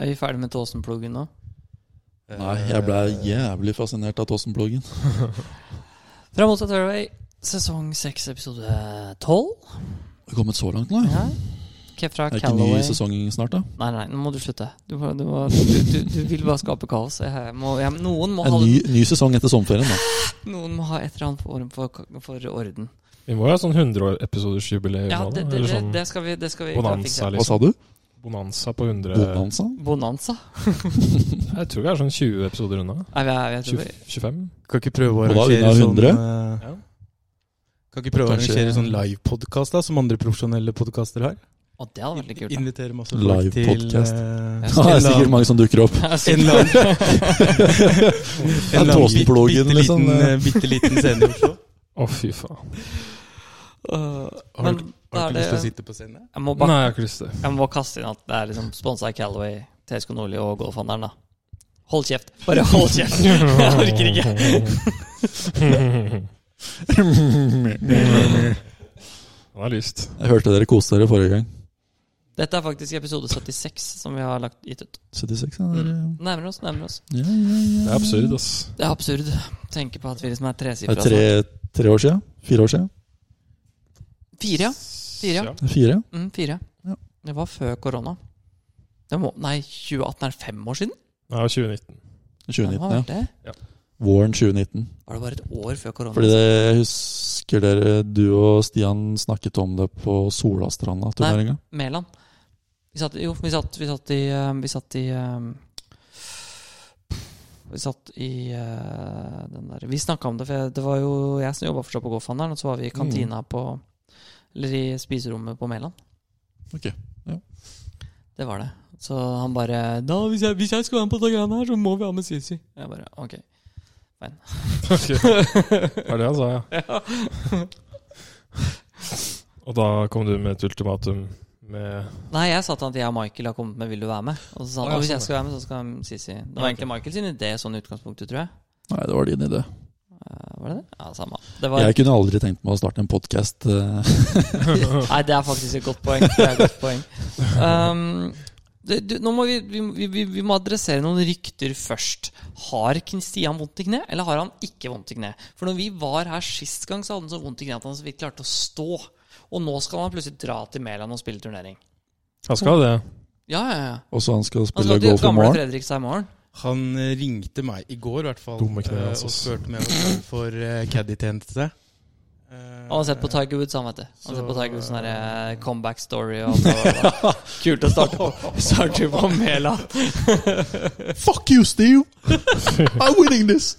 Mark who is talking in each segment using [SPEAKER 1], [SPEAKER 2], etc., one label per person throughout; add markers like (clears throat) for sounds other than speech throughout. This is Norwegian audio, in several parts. [SPEAKER 1] Er vi ferdig med Tåsenpluggen nå?
[SPEAKER 2] Nei, jeg ble jævlig fascinert av Tåsenbloggen.
[SPEAKER 1] Fra motsatt fairway, sesong 6, episode 12.
[SPEAKER 2] Det har kommet så langt nå.
[SPEAKER 1] Ja. Kefra
[SPEAKER 2] Er det ikke ny
[SPEAKER 1] Callaway.
[SPEAKER 2] sesong snart, da?
[SPEAKER 1] Nei, nei, nå må du slutte. Du, må- du, må- du, du, du vil bare skape kaos. Jeg må, jeg, noen, må
[SPEAKER 2] En
[SPEAKER 1] ha,
[SPEAKER 2] ny, ny sesong etter sommerferien, da.
[SPEAKER 1] noen må ha et eller annet form for, for orden.
[SPEAKER 3] Vi må jo ha sånn 100-episodersjubileum
[SPEAKER 1] Ja,
[SPEAKER 3] nå, da.
[SPEAKER 1] det, det,
[SPEAKER 3] Eller
[SPEAKER 1] det,
[SPEAKER 3] sånn
[SPEAKER 1] det skal vi, det skal vi klare å
[SPEAKER 3] bonanza,
[SPEAKER 1] fikse.
[SPEAKER 2] Hva
[SPEAKER 3] liksom.
[SPEAKER 2] sa du?
[SPEAKER 3] Bonanza på 100
[SPEAKER 2] Bonanza?
[SPEAKER 1] Bonanza?
[SPEAKER 3] Jeg tror vi er sånn 20 episoder unna.
[SPEAKER 1] Nei, vi er, jeg tror
[SPEAKER 3] 20,
[SPEAKER 1] vi,
[SPEAKER 3] 25?
[SPEAKER 4] Kan ikke prøve å
[SPEAKER 2] Og da
[SPEAKER 4] arrangere
[SPEAKER 2] vinner
[SPEAKER 4] sånn
[SPEAKER 2] 100.
[SPEAKER 4] eh,
[SPEAKER 3] Ja.
[SPEAKER 4] Kan ikke prøve å
[SPEAKER 2] Kanskje-
[SPEAKER 4] arrangere sånn livepodkast da, som andre profesjonelle podkaster har?
[SPEAKER 1] Å, det hadde vært litt kult. da.
[SPEAKER 4] Invitere masse folk
[SPEAKER 2] Live
[SPEAKER 4] til
[SPEAKER 2] podcast.
[SPEAKER 4] eh,
[SPEAKER 2] Ja, det er sikkert mange som dukker
[SPEAKER 1] (laughs)
[SPEAKER 2] opp.
[SPEAKER 4] (laughs) En eller
[SPEAKER 2] (laughs)
[SPEAKER 4] annen, en eller annen bitte,
[SPEAKER 2] Tåsenbloggen,
[SPEAKER 4] bitte,
[SPEAKER 2] liksom.
[SPEAKER 4] liten, eh, bitte liten scene i Oslo.
[SPEAKER 3] Å, fy faen.
[SPEAKER 1] Øh,
[SPEAKER 4] Har
[SPEAKER 1] Men
[SPEAKER 4] du
[SPEAKER 1] da
[SPEAKER 4] Har
[SPEAKER 1] er
[SPEAKER 4] du
[SPEAKER 1] det
[SPEAKER 4] ikke lyst til å sitte på scenen?
[SPEAKER 1] jeg må,
[SPEAKER 3] Nei,
[SPEAKER 1] bare,
[SPEAKER 3] jeg har ikke lyst til det.
[SPEAKER 1] jeg må bare kaste inn at det er liksom sponsa av Calaway, TSK Nordli og Golfhandelen, da. Hold kjeft. Bare hold kjeft! (laughs) Jeg orker
[SPEAKER 4] (laughs)
[SPEAKER 1] ikke.
[SPEAKER 3] Han har lyst.
[SPEAKER 2] Jeg hørte dere koste dere forrige gang.
[SPEAKER 1] Dette er faktisk episode 76 som vi har lagt, gitt ut.
[SPEAKER 2] 76, ja. dere-
[SPEAKER 1] Nærmer oss, nærmer oss.
[SPEAKER 2] Ja, ja, ja.
[SPEAKER 3] Mm. Det er absurd, ass.
[SPEAKER 1] Det er absurd. Tenke på at vi liksom er
[SPEAKER 2] Det
[SPEAKER 1] tresifra.
[SPEAKER 2] er tre, tre år siden? Fire år siden?
[SPEAKER 1] snart. Fire, ja. Fire, ja.
[SPEAKER 2] Det er Fire?
[SPEAKER 1] Mm, fire.
[SPEAKER 2] Ja.
[SPEAKER 1] Det var før korona. Det må, nei, 2018 er fem år siden?
[SPEAKER 3] Ja, 2019.
[SPEAKER 1] Det må
[SPEAKER 2] 2019,
[SPEAKER 1] ha
[SPEAKER 2] ja.
[SPEAKER 1] vært det.
[SPEAKER 2] Våren 2019.
[SPEAKER 1] Var det bare et år før korona?
[SPEAKER 2] Fordi det, jeg husker dere, du og Stian snakket om det på Solastranda-turneringa.
[SPEAKER 1] Mæland. Vi satt, jo, vi satt, vi satt i eh, Vi satt i eh, Vi satt i eh, den der Vi snakka om det, for jeg, det var jo jeg som jobba fortsatt på Golfhandelen, og så var vi i
[SPEAKER 3] Mm.
[SPEAKER 1] kantina på Eller i spiserommet på Mæland.
[SPEAKER 2] Ok, ja.
[SPEAKER 1] Det var det. Så han bare da, hvis, jeg, 'Hvis jeg skal være med på de greiene her, så må vi ha med Sisi'. Jeg bare OK.
[SPEAKER 3] Ok. Var det han sa, ja. Og da kom du med et ultimatum med
[SPEAKER 1] Nei, jeg sa til han at jeg og Michael har kommet med 'Vil du være med?' Og så sa han
[SPEAKER 3] Å, ja,
[SPEAKER 1] «Å, 'Hvis
[SPEAKER 3] sånn,
[SPEAKER 1] jeg skal være med, så skal jeg med Sisi'. Det var egentlig Michael sin idé sånn i utgangspunktet, tror jeg.
[SPEAKER 2] Nei, det var din idé.
[SPEAKER 1] Eh, Var det det? Ja, samme. Det var
[SPEAKER 2] Jeg kunne aldri tenkt meg å starte en eh, podkast. (laughs)
[SPEAKER 1] Nei, det er faktisk et godt poeng. Det er et godt poeng. Um, det, du, nå må vi, vi, vi- vi, vi må adressere noen rykter først. Har Kristian vondt i kne, eller har han ikke vondt i kne? For når vi var her sist gang, så hadde han så vondt i kne at han så vidt klarte å stå. Og nå skal han plutselig dra til Mæland og spille turnering.
[SPEAKER 3] Han skal ha det.
[SPEAKER 1] Ja, ja, ja.
[SPEAKER 2] Og så han skal
[SPEAKER 1] Han
[SPEAKER 2] spille
[SPEAKER 1] skal til
[SPEAKER 2] golf i
[SPEAKER 1] gamle
[SPEAKER 2] morgen.
[SPEAKER 1] Fredrikstad i morgen.
[SPEAKER 4] Han eh, ringte meg i går, i hvert fall,
[SPEAKER 3] Dumme kne,
[SPEAKER 4] eh,
[SPEAKER 3] altså.
[SPEAKER 4] og spurte om jeg var klar for eh, caddy-tjeneste. Eh,
[SPEAKER 1] Han har sett på Tiger Woods, han, vet du. Han har sett på
[SPEAKER 4] Så-
[SPEAKER 1] Tiger Woods sånn derre comeback story og
[SPEAKER 2] (laughs)
[SPEAKER 1] så- Kult å starte på, starte på Mæland.
[SPEAKER 4] Eh,
[SPEAKER 2] Fuck you, (laughs) Steve! I'm winning this!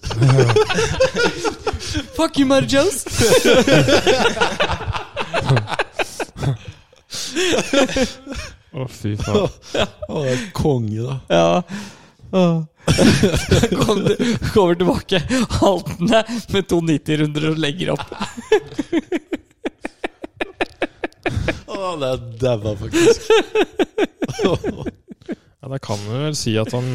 [SPEAKER 1] Fuck you, Mary Jones!
[SPEAKER 3] Å, fy faen.
[SPEAKER 2] Å, det er konge, da.
[SPEAKER 1] Ja. Åh. (laughs) Kom, kommer tilbake haltende med to 90-runder og legger opp.
[SPEAKER 2] Å, det er daua, faktisk.
[SPEAKER 4] (laughs)
[SPEAKER 3] Ja, Da kan du vel si (laughs) at han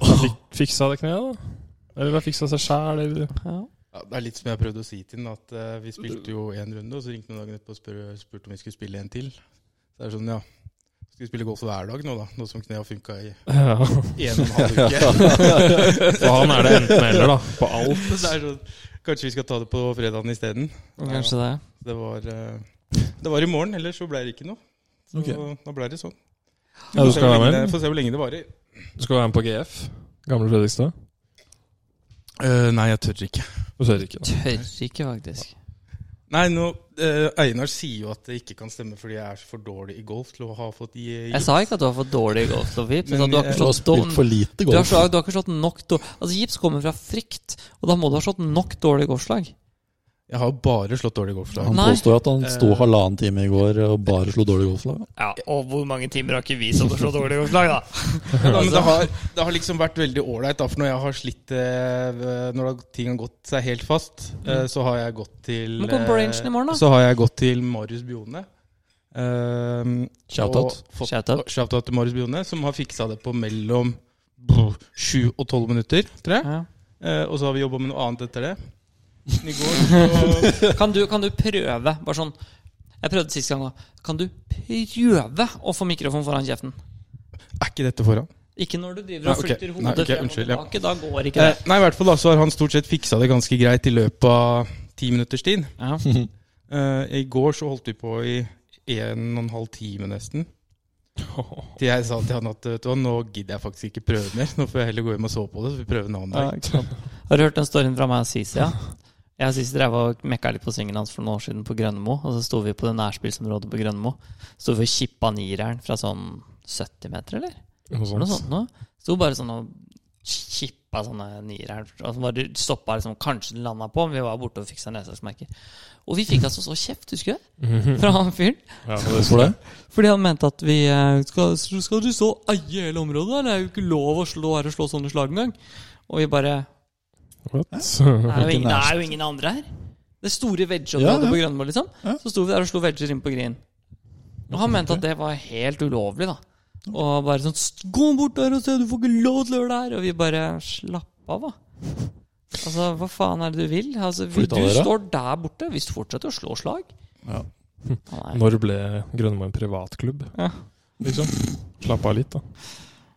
[SPEAKER 3] fik fiksa det kneet, da. Eller har fiksa seg sjæl, eller
[SPEAKER 4] Ja, det er litt som jeg prøvde å si til ham, at eh, vi spilte jo én runde, og så ringte han dagen etterpå og spør, spurte om vi skulle spille en til. Så det er sånn, ja Skal vi spille golf hver dag nå, da? Nå som kneet har funka i
[SPEAKER 3] ja. (laughs)
[SPEAKER 4] en og en halv uke. (laughs)
[SPEAKER 3] For han er det enten-eller, da. På alt.
[SPEAKER 4] Så det er sånn, Kanskje vi skal ta det på fredagen isteden?
[SPEAKER 1] Kanskje det.
[SPEAKER 4] Det var eh, Det var i morgen, ellers så ble det ikke noe. Så da ble det sånn.
[SPEAKER 3] Ja, du
[SPEAKER 4] Får se hvor
[SPEAKER 3] skal være
[SPEAKER 4] lenge
[SPEAKER 3] med?
[SPEAKER 4] det- Får se hvor lenge det varer.
[SPEAKER 3] Du skal være med på GF? Gamle Fredrikstad?
[SPEAKER 4] nei, jeg tør ikke.
[SPEAKER 3] Du tør ikke, da.
[SPEAKER 1] Tør ikke, faktisk.
[SPEAKER 4] Nei, nå, eh, Einar sier jo at det ikke kan stemme fordi jeg er så for dårlig i golf til å ha fått i, i
[SPEAKER 1] Jeg sa ikke at du var for dårlig i golf. Sofie. Jeg sa at Du har ikke
[SPEAKER 2] Du har
[SPEAKER 1] slått dom-
[SPEAKER 2] spilt for lite
[SPEAKER 1] du har,
[SPEAKER 2] golf.
[SPEAKER 1] slag, du har ikke slått nok dår- Altså Gips kommer fra frykt, og da må du ha slått nok dårlige golfslag.
[SPEAKER 4] Jeg har bare slått dårlig golf. Da.
[SPEAKER 2] Han
[SPEAKER 1] Nei.
[SPEAKER 2] påstår at han sto
[SPEAKER 4] Eh.
[SPEAKER 2] halvannen time i går og bare slo dårlig golflag.
[SPEAKER 1] Ja, og hvor mange timer har ikke vi som har slått dårlige golfslag, da?
[SPEAKER 4] Ja, men det, har, det har liksom vært veldig ålreit. da, For når jeg har slitt eh, ved- Når da ting har gått seg helt fast, eh, så har jeg gått til
[SPEAKER 1] Men kom på
[SPEAKER 4] eh,
[SPEAKER 1] rangen i morgen, da.
[SPEAKER 4] Så har jeg gått til Marius Bione. eh,
[SPEAKER 2] Shoutout.
[SPEAKER 4] og fått-
[SPEAKER 1] Shoutout.
[SPEAKER 4] Shoutout til Marius Bione, som har fiksa det på mellom brr, sju og tolv minutter, tror jeg.
[SPEAKER 1] Ja.
[SPEAKER 4] Eh, og så har vi jobba med noe annet etter det. I går så
[SPEAKER 1] Kan du, kan du prøve Bare sånn Jeg prøvde sist gang òg. Kan du prøve å få mikrofon foran kjeften?
[SPEAKER 4] (laughs) Er ikke dette foran?
[SPEAKER 1] Ikke når du driver og
[SPEAKER 4] Nei, ok.
[SPEAKER 1] flytter hodet
[SPEAKER 4] Nei, ok,
[SPEAKER 1] frem og
[SPEAKER 4] unnskyld, ja.
[SPEAKER 1] tilbake. Da går ikke det.
[SPEAKER 4] Eh, nei, i hvert fall da, så har han stort sett fiksa det ganske greit i løpet av ti minutters tid.
[SPEAKER 1] Ja.
[SPEAKER 4] Eh, I går så holdt vi på i en og en halv time nesten. Til jeg sa til han at vet du, hva, nå gidder jeg faktisk ikke prøve mer. Nå får jeg heller gå hjem og sove på det, så vi prøver en annen dag.
[SPEAKER 1] Har du hørt den storyen fra meg og Sisi? Ja? Jeg og Sisi drev og mekka litt på svingen hans for noen år siden på Grønnemo. Og så sto vi på det nærspillsområdet på Grønnemo. Sto vi og kippa nireren fra sånn 70 meter, eller? Var
[SPEAKER 3] Noe
[SPEAKER 1] det noe
[SPEAKER 3] sånt.
[SPEAKER 1] sånt noe? Sto bare sånn og kippa sånne nireren. Og så bare stoppa liksom, kanskje den landa på, men vi var borte og fiksa nedslagsmerker. Og vi fikk altså så kjeft, husker du?
[SPEAKER 3] Mhm.
[SPEAKER 1] Fra han fyren.
[SPEAKER 3] Ja,
[SPEAKER 2] Hvorfor det?
[SPEAKER 1] Fordi han mente at vi eh, skal, skal du så eie hele området? da? Det er jo ikke lov å slå her og slå sånne slag engang. Og vi bare
[SPEAKER 3] Mhm.
[SPEAKER 1] Det er jo ingen, det er jo ingen andre her. Det store veggeområdet
[SPEAKER 2] Ja, ja.
[SPEAKER 1] på Grønmo, liksom.
[SPEAKER 2] Ja.
[SPEAKER 1] Så sto vi der og slo vegger inn på green. Og han mente at det var helt ulovlig, da. Og bare sånn "St- Gå bort der og se, du får ikke lov til å gjøre det her! Og vi bare Slapp av, da. Altså, hva faen er det du vil? Altså, vi,
[SPEAKER 2] Flytta
[SPEAKER 1] du
[SPEAKER 2] dere?
[SPEAKER 1] står der borte. Hvis du fortsetter å slå slag
[SPEAKER 2] Ja.
[SPEAKER 1] Nei,
[SPEAKER 3] Når ble Grønnemo en privatklubb?
[SPEAKER 1] Ja.
[SPEAKER 3] Liksom. Slapp av litt, da.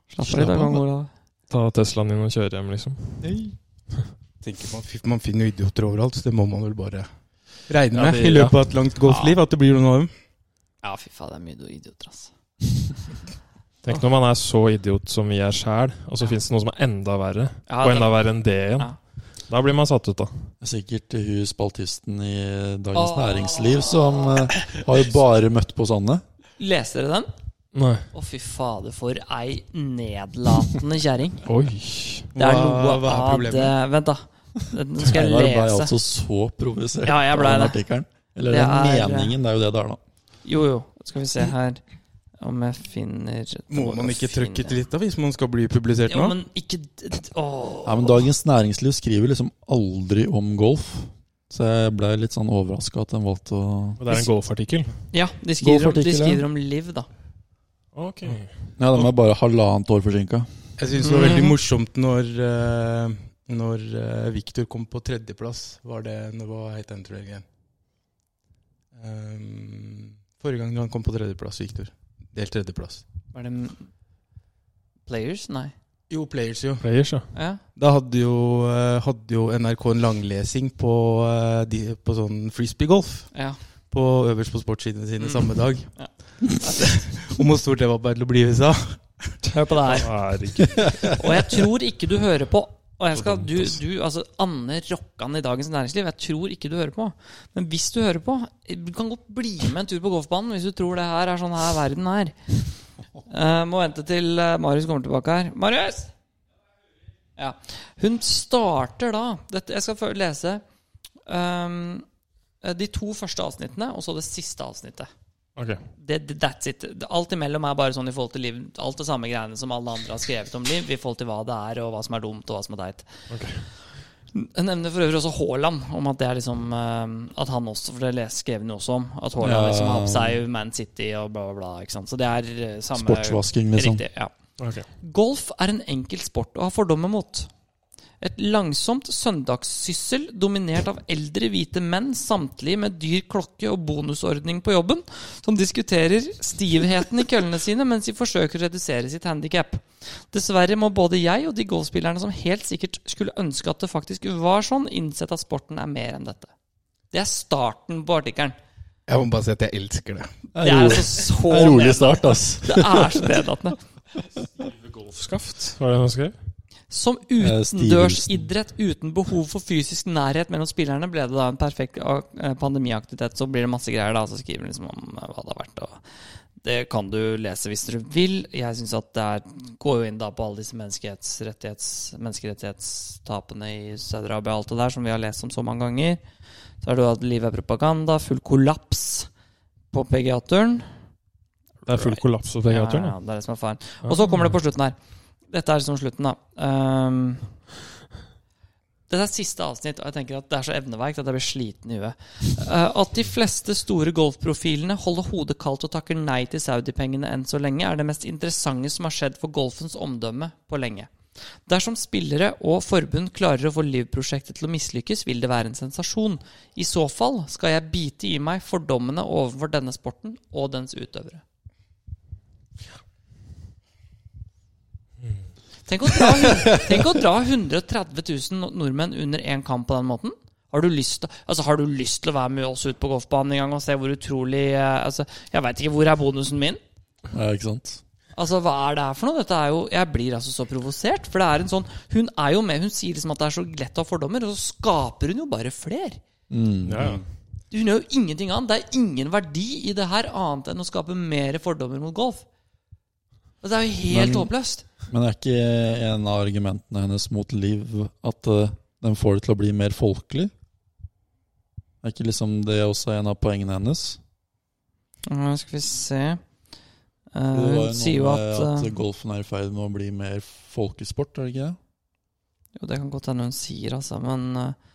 [SPEAKER 1] slapp av i dag,
[SPEAKER 2] Slapp av,
[SPEAKER 1] Kong
[SPEAKER 2] da.
[SPEAKER 1] Olav.
[SPEAKER 3] Ta Teslaen din og kjøre hjem, liksom.
[SPEAKER 4] Tenker man, fy- man finner jo idioter overalt, så det må man vel bare regne
[SPEAKER 3] Ja,
[SPEAKER 4] med
[SPEAKER 3] det-
[SPEAKER 4] i løpet av et langt golfliv. At det blir noen av dem.
[SPEAKER 1] Ja, fy faen, det er mye idioter, altså.
[SPEAKER 3] Tenk når man er så idiot som vi er sjæl, og så fins det noe som er enda verre.
[SPEAKER 1] Ja,
[SPEAKER 3] Og
[SPEAKER 1] det-
[SPEAKER 3] enda verre enn det igjen.
[SPEAKER 1] Ja.
[SPEAKER 3] Da blir man satt ut, da.
[SPEAKER 2] Sikkert hun spaltisten i Dagens
[SPEAKER 1] Åh.
[SPEAKER 2] Næringsliv som eh, har jo bare møtt på sånne.
[SPEAKER 1] Leser dere den?
[SPEAKER 3] Nei.
[SPEAKER 1] Å, fy fader, for ei nedlatende kjerring.
[SPEAKER 3] Oi.
[SPEAKER 1] Det er noe
[SPEAKER 4] hva er
[SPEAKER 1] av
[SPEAKER 4] problemet?
[SPEAKER 1] det Vent, da. Nå skal jeg
[SPEAKER 2] Einar ble
[SPEAKER 1] lese.
[SPEAKER 2] altså så provosert
[SPEAKER 1] Ja, jeg ble
[SPEAKER 2] av den
[SPEAKER 1] det.
[SPEAKER 2] artikkelen. Eller
[SPEAKER 1] Det er-
[SPEAKER 2] den meningen, det er jo det det er, da.
[SPEAKER 4] sånn?
[SPEAKER 1] Jo, jo. Skal vi se her om jeg finner det
[SPEAKER 4] Må
[SPEAKER 1] går
[SPEAKER 4] man
[SPEAKER 1] å
[SPEAKER 4] ikke
[SPEAKER 1] finne.
[SPEAKER 4] trøkke til litt da, hvis man skal bli publisert
[SPEAKER 1] Jo,
[SPEAKER 4] nå?
[SPEAKER 1] men ikke d- d- Åh.
[SPEAKER 2] Nei, men Dagens Næringsliv skriver liksom aldri om golf. Så jeg ble litt sånn overraska at den valgte å
[SPEAKER 3] Og det er en golfartikkel.
[SPEAKER 1] Ja, de skriver, om, de
[SPEAKER 2] Golfartikkel, ja.
[SPEAKER 1] skriver om liv, da.
[SPEAKER 3] Ok.
[SPEAKER 2] Ja, den er bare halvannet år forsinka.
[SPEAKER 4] Jeg syns det var veldig
[SPEAKER 1] Mhm.
[SPEAKER 4] morsomt når, eh, når eh, Victor kom på tredjeplass. Var det når Hva het den turneringen? Um, forrige gang han kom på tredjeplass, Victor. Delt tredjeplass.
[SPEAKER 1] Var det m- Players? Nei.
[SPEAKER 4] Jo, Players, jo.
[SPEAKER 3] Players, ja.
[SPEAKER 1] Ja.
[SPEAKER 4] Da hadde jo, eh, hadde jo NRK en langlesing på, eh, de, på sånn frisbeegolf.
[SPEAKER 1] ja.
[SPEAKER 4] På øverst på sportssidene sine
[SPEAKER 1] Mm.
[SPEAKER 4] samme dag.
[SPEAKER 1] Ja.
[SPEAKER 4] (laughs) Om hvor stort det var bare til å bli i USA.
[SPEAKER 1] Hør på det her.
[SPEAKER 3] Herregud.
[SPEAKER 1] Og jeg tror ikke du hører på. Og jeg skal, du, du, altså Anne Rokkan i Dagens Næringsliv, jeg tror ikke du hører på. Men hvis du hører på, du kan godt bli med en tur på golfbanen hvis du tror det her er sånn her verden er. Eh, må vente til eh, Marius kommer tilbake her. Marius! Ja. Hun starter da dette, Jeg skal få lese ehm, de to første avsnittene og så det siste avsnittet
[SPEAKER 3] Ok.
[SPEAKER 1] det, det- that's it. Det- Alt imellom er bare sånn i forhold til liv. Alt det samme greiene som alle andre har skrevet om liv, i forhold til hva det er, og hva som er dumt, og hva som er teit.
[SPEAKER 3] Ok.
[SPEAKER 1] Jeg nevner for øvrig også Haaland, om at det er liksom eh, At han også, for det les- skrev han jo også om, at Haaland
[SPEAKER 2] Ja.
[SPEAKER 1] liksom har på seg Man City og bla, bla, bla. Ikke sant? Så det er eh, samme
[SPEAKER 2] Sportsvasking, liksom.
[SPEAKER 1] Riktig, ja.
[SPEAKER 3] Ok.
[SPEAKER 1] Golf er en enkel sport å ha fordommer mot. Et langsomt søndagssyssel dominert av eldre hvite menn, samtlig med dyr klokke og bonusordning på jobben, som diskuterer stivheten i køllene sine mens de forsøker å redusere sitt handikap. Dessverre må både jeg og de golfspillerne som helt sikkert skulle ønske at det faktisk var sånn, innsette at sporten er mer enn dette. Det er starten på artikkelen.
[SPEAKER 4] Jeg må bare si at jeg elsker det.
[SPEAKER 1] Det er altså så
[SPEAKER 2] Det er en rolig
[SPEAKER 1] ned-
[SPEAKER 2] start, ass.
[SPEAKER 1] Det er så nedlatende.
[SPEAKER 3] Golfskaft, var det han skrev?
[SPEAKER 1] Som
[SPEAKER 2] Eh,
[SPEAKER 1] utendørsidrett uten behov for fysisk nærhet mellom spillerne ble det da en perfekt ak- eh, pandemiaktivitet. Så blir det masse greier, da. Så skriver den liksom om eh, hva det har vært. Og det kan du lese hvis du vil. Jeg syns at det er, går jo inn da på alle disse menneskerettighets, menneskerettighetstapene i Saudi-Arabia og alt det der som vi har lest om så mange ganger. Så er det jo at livet er propaganda, full kollaps på PGA-turen.
[SPEAKER 3] Det er full kollaps på PGA-turen.
[SPEAKER 1] Ja, ja, det er det som er faren. Og så kommer det på slutten her. Dette er liksom slutten, da. Ehm, dette er siste avsnitt, og jeg tenker at det er så evneveikt at jeg blir sliten i huet. Eh, at de fleste store golfprofilene holder hodet kaldt og takker nei til Saudi-pengene enn så lenge, er det mest interessante som har skjedd for golfens omdømme på lenge. Dersom spillere og forbund klarer å få Liv-prosjektet til å mislykkes, vil det være en sensasjon. I så fall skal jeg bite i meg fordommene overfor denne sporten og dens utøvere. Tenk å dra, hun- tenk å dra 130 000 no- nordmenn under én kamp på den måten. Har du, lyst, til- altså, har du lyst til å være med oss ut på golfbanen en gang og se hvor utrolig eh, altså, Jeg veit ikke, hvor er bonusen min?
[SPEAKER 2] Ja, ikke sant?
[SPEAKER 1] Altså, Hva er det her for noe? Dette er jo, jeg blir altså så provosert. For det er en sånn Hun er jo med, hun sier liksom at det er så lett å ha fordommer, og så skaper hun jo bare fler.
[SPEAKER 2] Mm.
[SPEAKER 1] Mm.
[SPEAKER 3] Ja, ja.
[SPEAKER 1] Hun gjør jo ingenting annet. Det er ingen verdi i det her annet enn å skape mer fordommer mot golf. Og Det er jo helt
[SPEAKER 2] Men-
[SPEAKER 1] håpløst.
[SPEAKER 2] Men er ikke en av argumentene hennes mot Liv at eh, den får det til å bli mer folkelig? Er ikke liksom det også en av poengene hennes?
[SPEAKER 1] Nå skal vi se Eh,
[SPEAKER 2] Det var
[SPEAKER 1] Hun
[SPEAKER 2] noe
[SPEAKER 1] sier jo
[SPEAKER 2] med
[SPEAKER 1] at eh,
[SPEAKER 2] at golfen er i ferd med å bli mer folkesport, er det ikke det?
[SPEAKER 1] Jo, det kan godt hende hun sier, altså, men eh,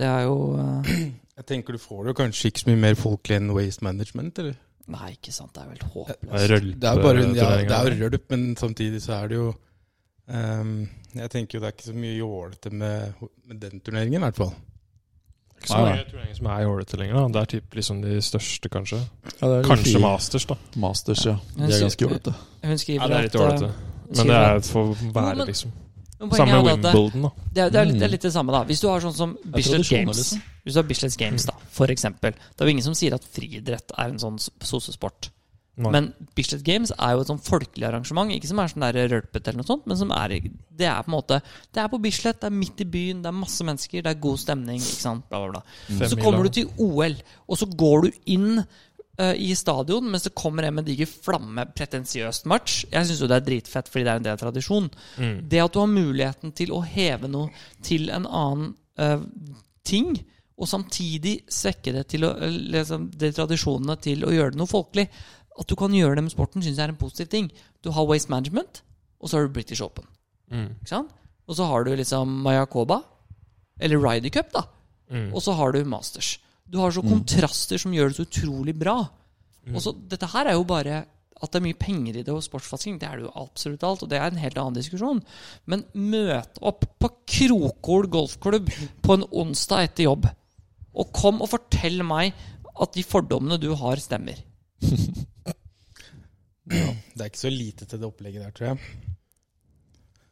[SPEAKER 1] det er jo eh,
[SPEAKER 4] Jeg tenker du får det jo kanskje ikke så mye mer folkelig enn Waste Management, eller?
[SPEAKER 1] Nei, ikke sant. Det er jo helt
[SPEAKER 3] Det
[SPEAKER 1] håpløst.
[SPEAKER 3] er rølpe-
[SPEAKER 4] Det er jo bare en- ja, det er
[SPEAKER 3] turneringer.
[SPEAKER 4] jo rølp, men samtidig så er det jo ehm, Jeg tenker jo det er ikke så mye jålete med, med den turneringen, i hvert fall.
[SPEAKER 3] Ikke så mange turneringer som er jålete lenger. da. Det er typ liksom de største, kanskje.
[SPEAKER 2] Ja, det er
[SPEAKER 3] Kanskje
[SPEAKER 2] fire-
[SPEAKER 3] Masters, da.
[SPEAKER 2] Masters, ja.
[SPEAKER 1] Men
[SPEAKER 2] De er
[SPEAKER 1] sier-
[SPEAKER 2] ganske jålete.
[SPEAKER 1] Hun
[SPEAKER 3] Ja,
[SPEAKER 1] skriver
[SPEAKER 3] det er litt
[SPEAKER 1] at
[SPEAKER 3] jålete.
[SPEAKER 1] eh,
[SPEAKER 3] Men det
[SPEAKER 1] sier
[SPEAKER 3] er for å
[SPEAKER 1] Jo, men-
[SPEAKER 3] være, liksom.
[SPEAKER 1] men poenget er
[SPEAKER 3] Samme med
[SPEAKER 1] jo at det-
[SPEAKER 3] Wimbledon, da.
[SPEAKER 1] Det er, det, er litt,
[SPEAKER 2] Mm.
[SPEAKER 1] det er litt det samme, da. Hvis du har sånn som Bislett
[SPEAKER 2] tradisjoner,
[SPEAKER 1] Games
[SPEAKER 2] liksom.
[SPEAKER 1] Hvis du har Bislett Games, da, for eksempel. Det er jo ingen som sier at friidrett er en sånn s- sosesport.
[SPEAKER 3] Nei.
[SPEAKER 1] Men Bislett Games er jo et sånn folkelig arrangement. Ikke som er sånn der rølpete eller noe sånt, men som er i- Det er på en måte Det er på Bislett, det er midt i byen, det er masse mennesker, det er god stemning, ikke sant, bla, bla, bla.
[SPEAKER 3] Fem
[SPEAKER 1] Så
[SPEAKER 3] mil,
[SPEAKER 1] kommer du
[SPEAKER 3] da.
[SPEAKER 1] til OL, og så går du inn eh, i stadion mens det kommer en med diger flamme, pretensiøst match. Jeg syns jo det er dritfett, fordi det er en del av tradisjon.
[SPEAKER 3] Mm.
[SPEAKER 1] Det at du har muligheten til å heve noe til en annen eh, ting, og samtidig svekke det til å, eh, liksom, de tradisjonene til å gjøre det noe folkelig At du kan gjøre det med sporten, syns jeg er en positiv ting. Du har Waste Management, og så har du British Open.
[SPEAKER 3] Mm.
[SPEAKER 1] Ikke sant? Og så har du liksom Mayakoba, eller Ryder Cup, da.
[SPEAKER 3] Mm.
[SPEAKER 1] Og så har du Masters. Du har så kontraster som gjør det så utrolig bra. Og så, Dette her er jo bare at det er mye penger i det, og sportsfasting, det er det jo absolutt alt, og det er en helt annen diskusjon. Men møt opp på Krokol golfklubb på en onsdag etter jobb, og kom og fortell meg at de fordommene du har, stemmer.
[SPEAKER 4] Det er ikke så lite til det opplegget der, tror jeg.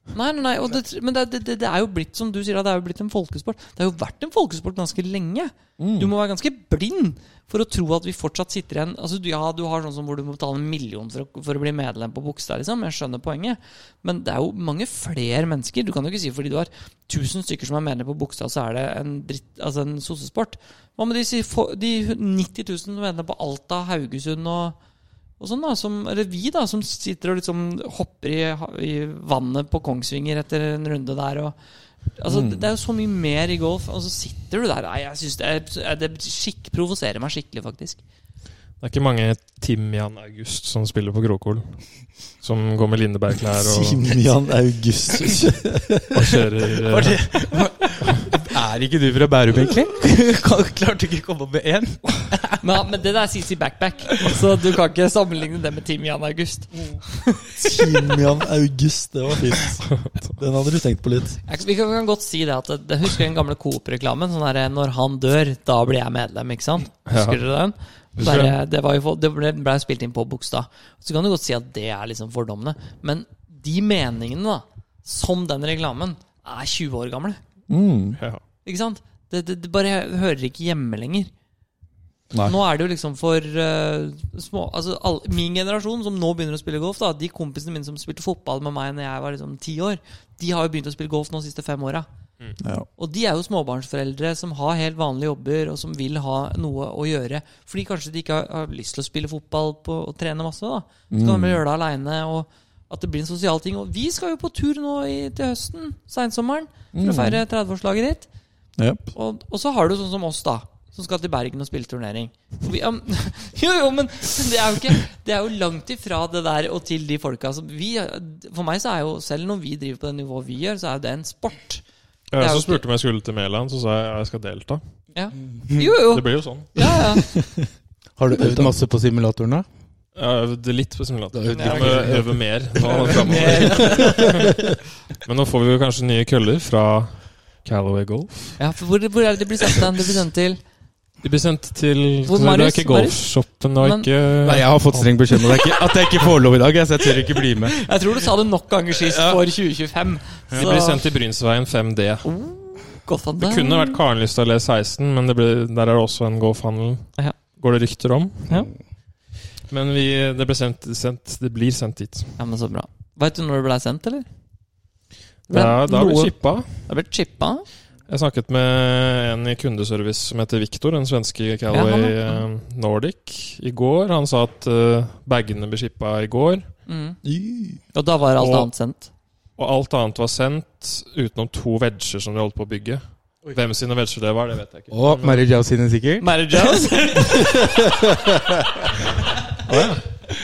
[SPEAKER 1] Nei, nei, nei og det, men det, det, det er jo blitt som du sier, da, det er jo blitt en folkesport. Det har jo vært en folkesport ganske lenge. Du må være ganske blind for å tro at vi fortsatt sitter igjen altså, du- Ja, du har sånn som hvor du må betale en million for å, for å bli medlem på Bogstad, liksom. Jeg skjønner poenget. Men det er jo mange flere mennesker. Du kan jo ikke si fordi du har 1000 stykker som er medlem på Bogstad, så er det en, dritt, altså en sossesport. Hva med de, si- få- de 90 000 som er medlem på Alta, Haugesund og og sånn da, som, eller vi da, som sitter og liksom hopper i, i vannet på Kongsvinger etter en runde der. Og, altså, det, det er jo så mye mer i golf, og så sitter du der. Nei, jeg synes det, er, det skikk, provoserer meg skikkelig, faktisk.
[SPEAKER 3] Det er ikke mange Timian August som spiller på Gråkol. Som går med Lindeberg-klær og,
[SPEAKER 2] Simian Augustus. (laughs)
[SPEAKER 3] og kjører eh,
[SPEAKER 4] (laughs) Er ikke du fra Bærum, (laughs) egentlig? Klarte ikke å komme opp med én?
[SPEAKER 1] Men, men det der sies i backpack, så du kan ikke sammenligne det med Team Jan August.
[SPEAKER 2] Simian August, det var fint.
[SPEAKER 3] (laughs)
[SPEAKER 2] Den hadde du tenkt på litt.
[SPEAKER 1] Jeg, vi, kan, vi kan godt si det at det, det husker den gamle Coop-reklamen. Sånn der, 'Når han dør, da blir jeg medlem', ikke sant? Husker dere den?
[SPEAKER 3] Husker
[SPEAKER 1] Der, eh, det var jo, for- det ble, ble spilt inn på Bogstad. Så kan du godt si at det er liksom fordommene. Men de meningene, da, som den reklamen, er 20 år gamle.
[SPEAKER 2] Mm.
[SPEAKER 3] eh, ja.
[SPEAKER 1] Ikke sant? Det, det, det bare hører ikke hjemme lenger.
[SPEAKER 2] Nei.
[SPEAKER 1] Nå er det jo liksom for eh, små Altså alle, Min generasjon som nå begynner å spille golf, da de kompisene mine som spilte fotball med meg Når jeg var liksom ti år, de har jo begynt å spille golf nå de siste fem åra.
[SPEAKER 2] Ja.
[SPEAKER 1] Og de er jo småbarnsforeldre som har helt vanlige jobber, og som vil ha noe å gjøre. Fordi kanskje de ikke har, har lyst til å spille fotball på, og trene masse. da Så
[SPEAKER 3] Mm.
[SPEAKER 1] kan de bare gjøre det aleine, og at det blir en sosial ting. Og vi skal jo på tur nå i, til høsten, seinsommeren, for
[SPEAKER 3] Mm.
[SPEAKER 1] å feire 30-årslaget ditt.
[SPEAKER 2] Jep.
[SPEAKER 1] Og, og så har du sånn som oss, da. Som skal til Bergen og spille turnering. Vi, ja, men- (laughs) jo, jo, men det er jo, ikke, det er jo langt ifra det der og til de folka som vi For meg så er jo, selv når vi driver på det nivået vi gjør, så er jo det en sport.
[SPEAKER 3] Jeg
[SPEAKER 1] Det er jo
[SPEAKER 3] også spurte om jeg skulle til Mæland, så sa jeg ja, jeg skal delta.
[SPEAKER 1] Ja. Jo, jo.
[SPEAKER 3] Det blir jo sånn.
[SPEAKER 1] Ja, ja.
[SPEAKER 4] Har du øvd masse på simulatoren, da?
[SPEAKER 3] Jeg har øvd litt på simulator.
[SPEAKER 4] Da øvde
[SPEAKER 3] Jeg
[SPEAKER 1] du
[SPEAKER 3] må
[SPEAKER 4] ikke.
[SPEAKER 3] øve mer nå
[SPEAKER 4] (laughs)
[SPEAKER 3] framover. (laughs) Men nå får vi jo kanskje nye køller fra Callaway Golf.
[SPEAKER 1] ja for hvor, hvor er det det blir sendt den? Det blir sendt til
[SPEAKER 3] De ble sendt til
[SPEAKER 1] Hvor,
[SPEAKER 3] Nei, Det er
[SPEAKER 1] Marius?
[SPEAKER 3] ikke golfshoppen og
[SPEAKER 1] Men-
[SPEAKER 3] ikke
[SPEAKER 4] Nei, jeg har fått streng beskjed om at jeg ikke- at jeg ikke får lov i dag, jeg, så jeg tør ikke bli med.
[SPEAKER 1] Jeg tror du sa det nok ganger sist
[SPEAKER 4] Ja.
[SPEAKER 1] for 2025.
[SPEAKER 3] De ble sendt til Brynsveien 5D.
[SPEAKER 1] Godt at
[SPEAKER 3] Det kunne vært Karenlyst allé 16, men det ble, der er det også en golfhandel.
[SPEAKER 1] Ja.
[SPEAKER 3] Går det rykter om?
[SPEAKER 1] Ja.
[SPEAKER 3] Men vi, det, ble sendt, sendt, det blir sendt dit.
[SPEAKER 1] Ja, men så bra. Veit du når det blei sendt, eller? Men
[SPEAKER 3] Da, da ble
[SPEAKER 1] noe-
[SPEAKER 3] chippa.
[SPEAKER 1] Det ble chippa.
[SPEAKER 3] Jeg snakket med en i kundeservice som heter Viktor, den svenske Calway
[SPEAKER 1] Ja, han,
[SPEAKER 3] eh, Nordic, i går. Han sa at eh, bagene ble shippa i går,
[SPEAKER 1] Mm.
[SPEAKER 2] I-
[SPEAKER 1] Og da var alt
[SPEAKER 3] Og-
[SPEAKER 1] annet sendt.
[SPEAKER 3] og alt annet var sendt utenom to wedger som de holdt på å bygge.
[SPEAKER 4] Oi.
[SPEAKER 3] Hvem sine wedger det var, det vet jeg ikke.
[SPEAKER 4] Og Mary Jo sine sikkert.
[SPEAKER 1] Mary Jones?
[SPEAKER 3] Det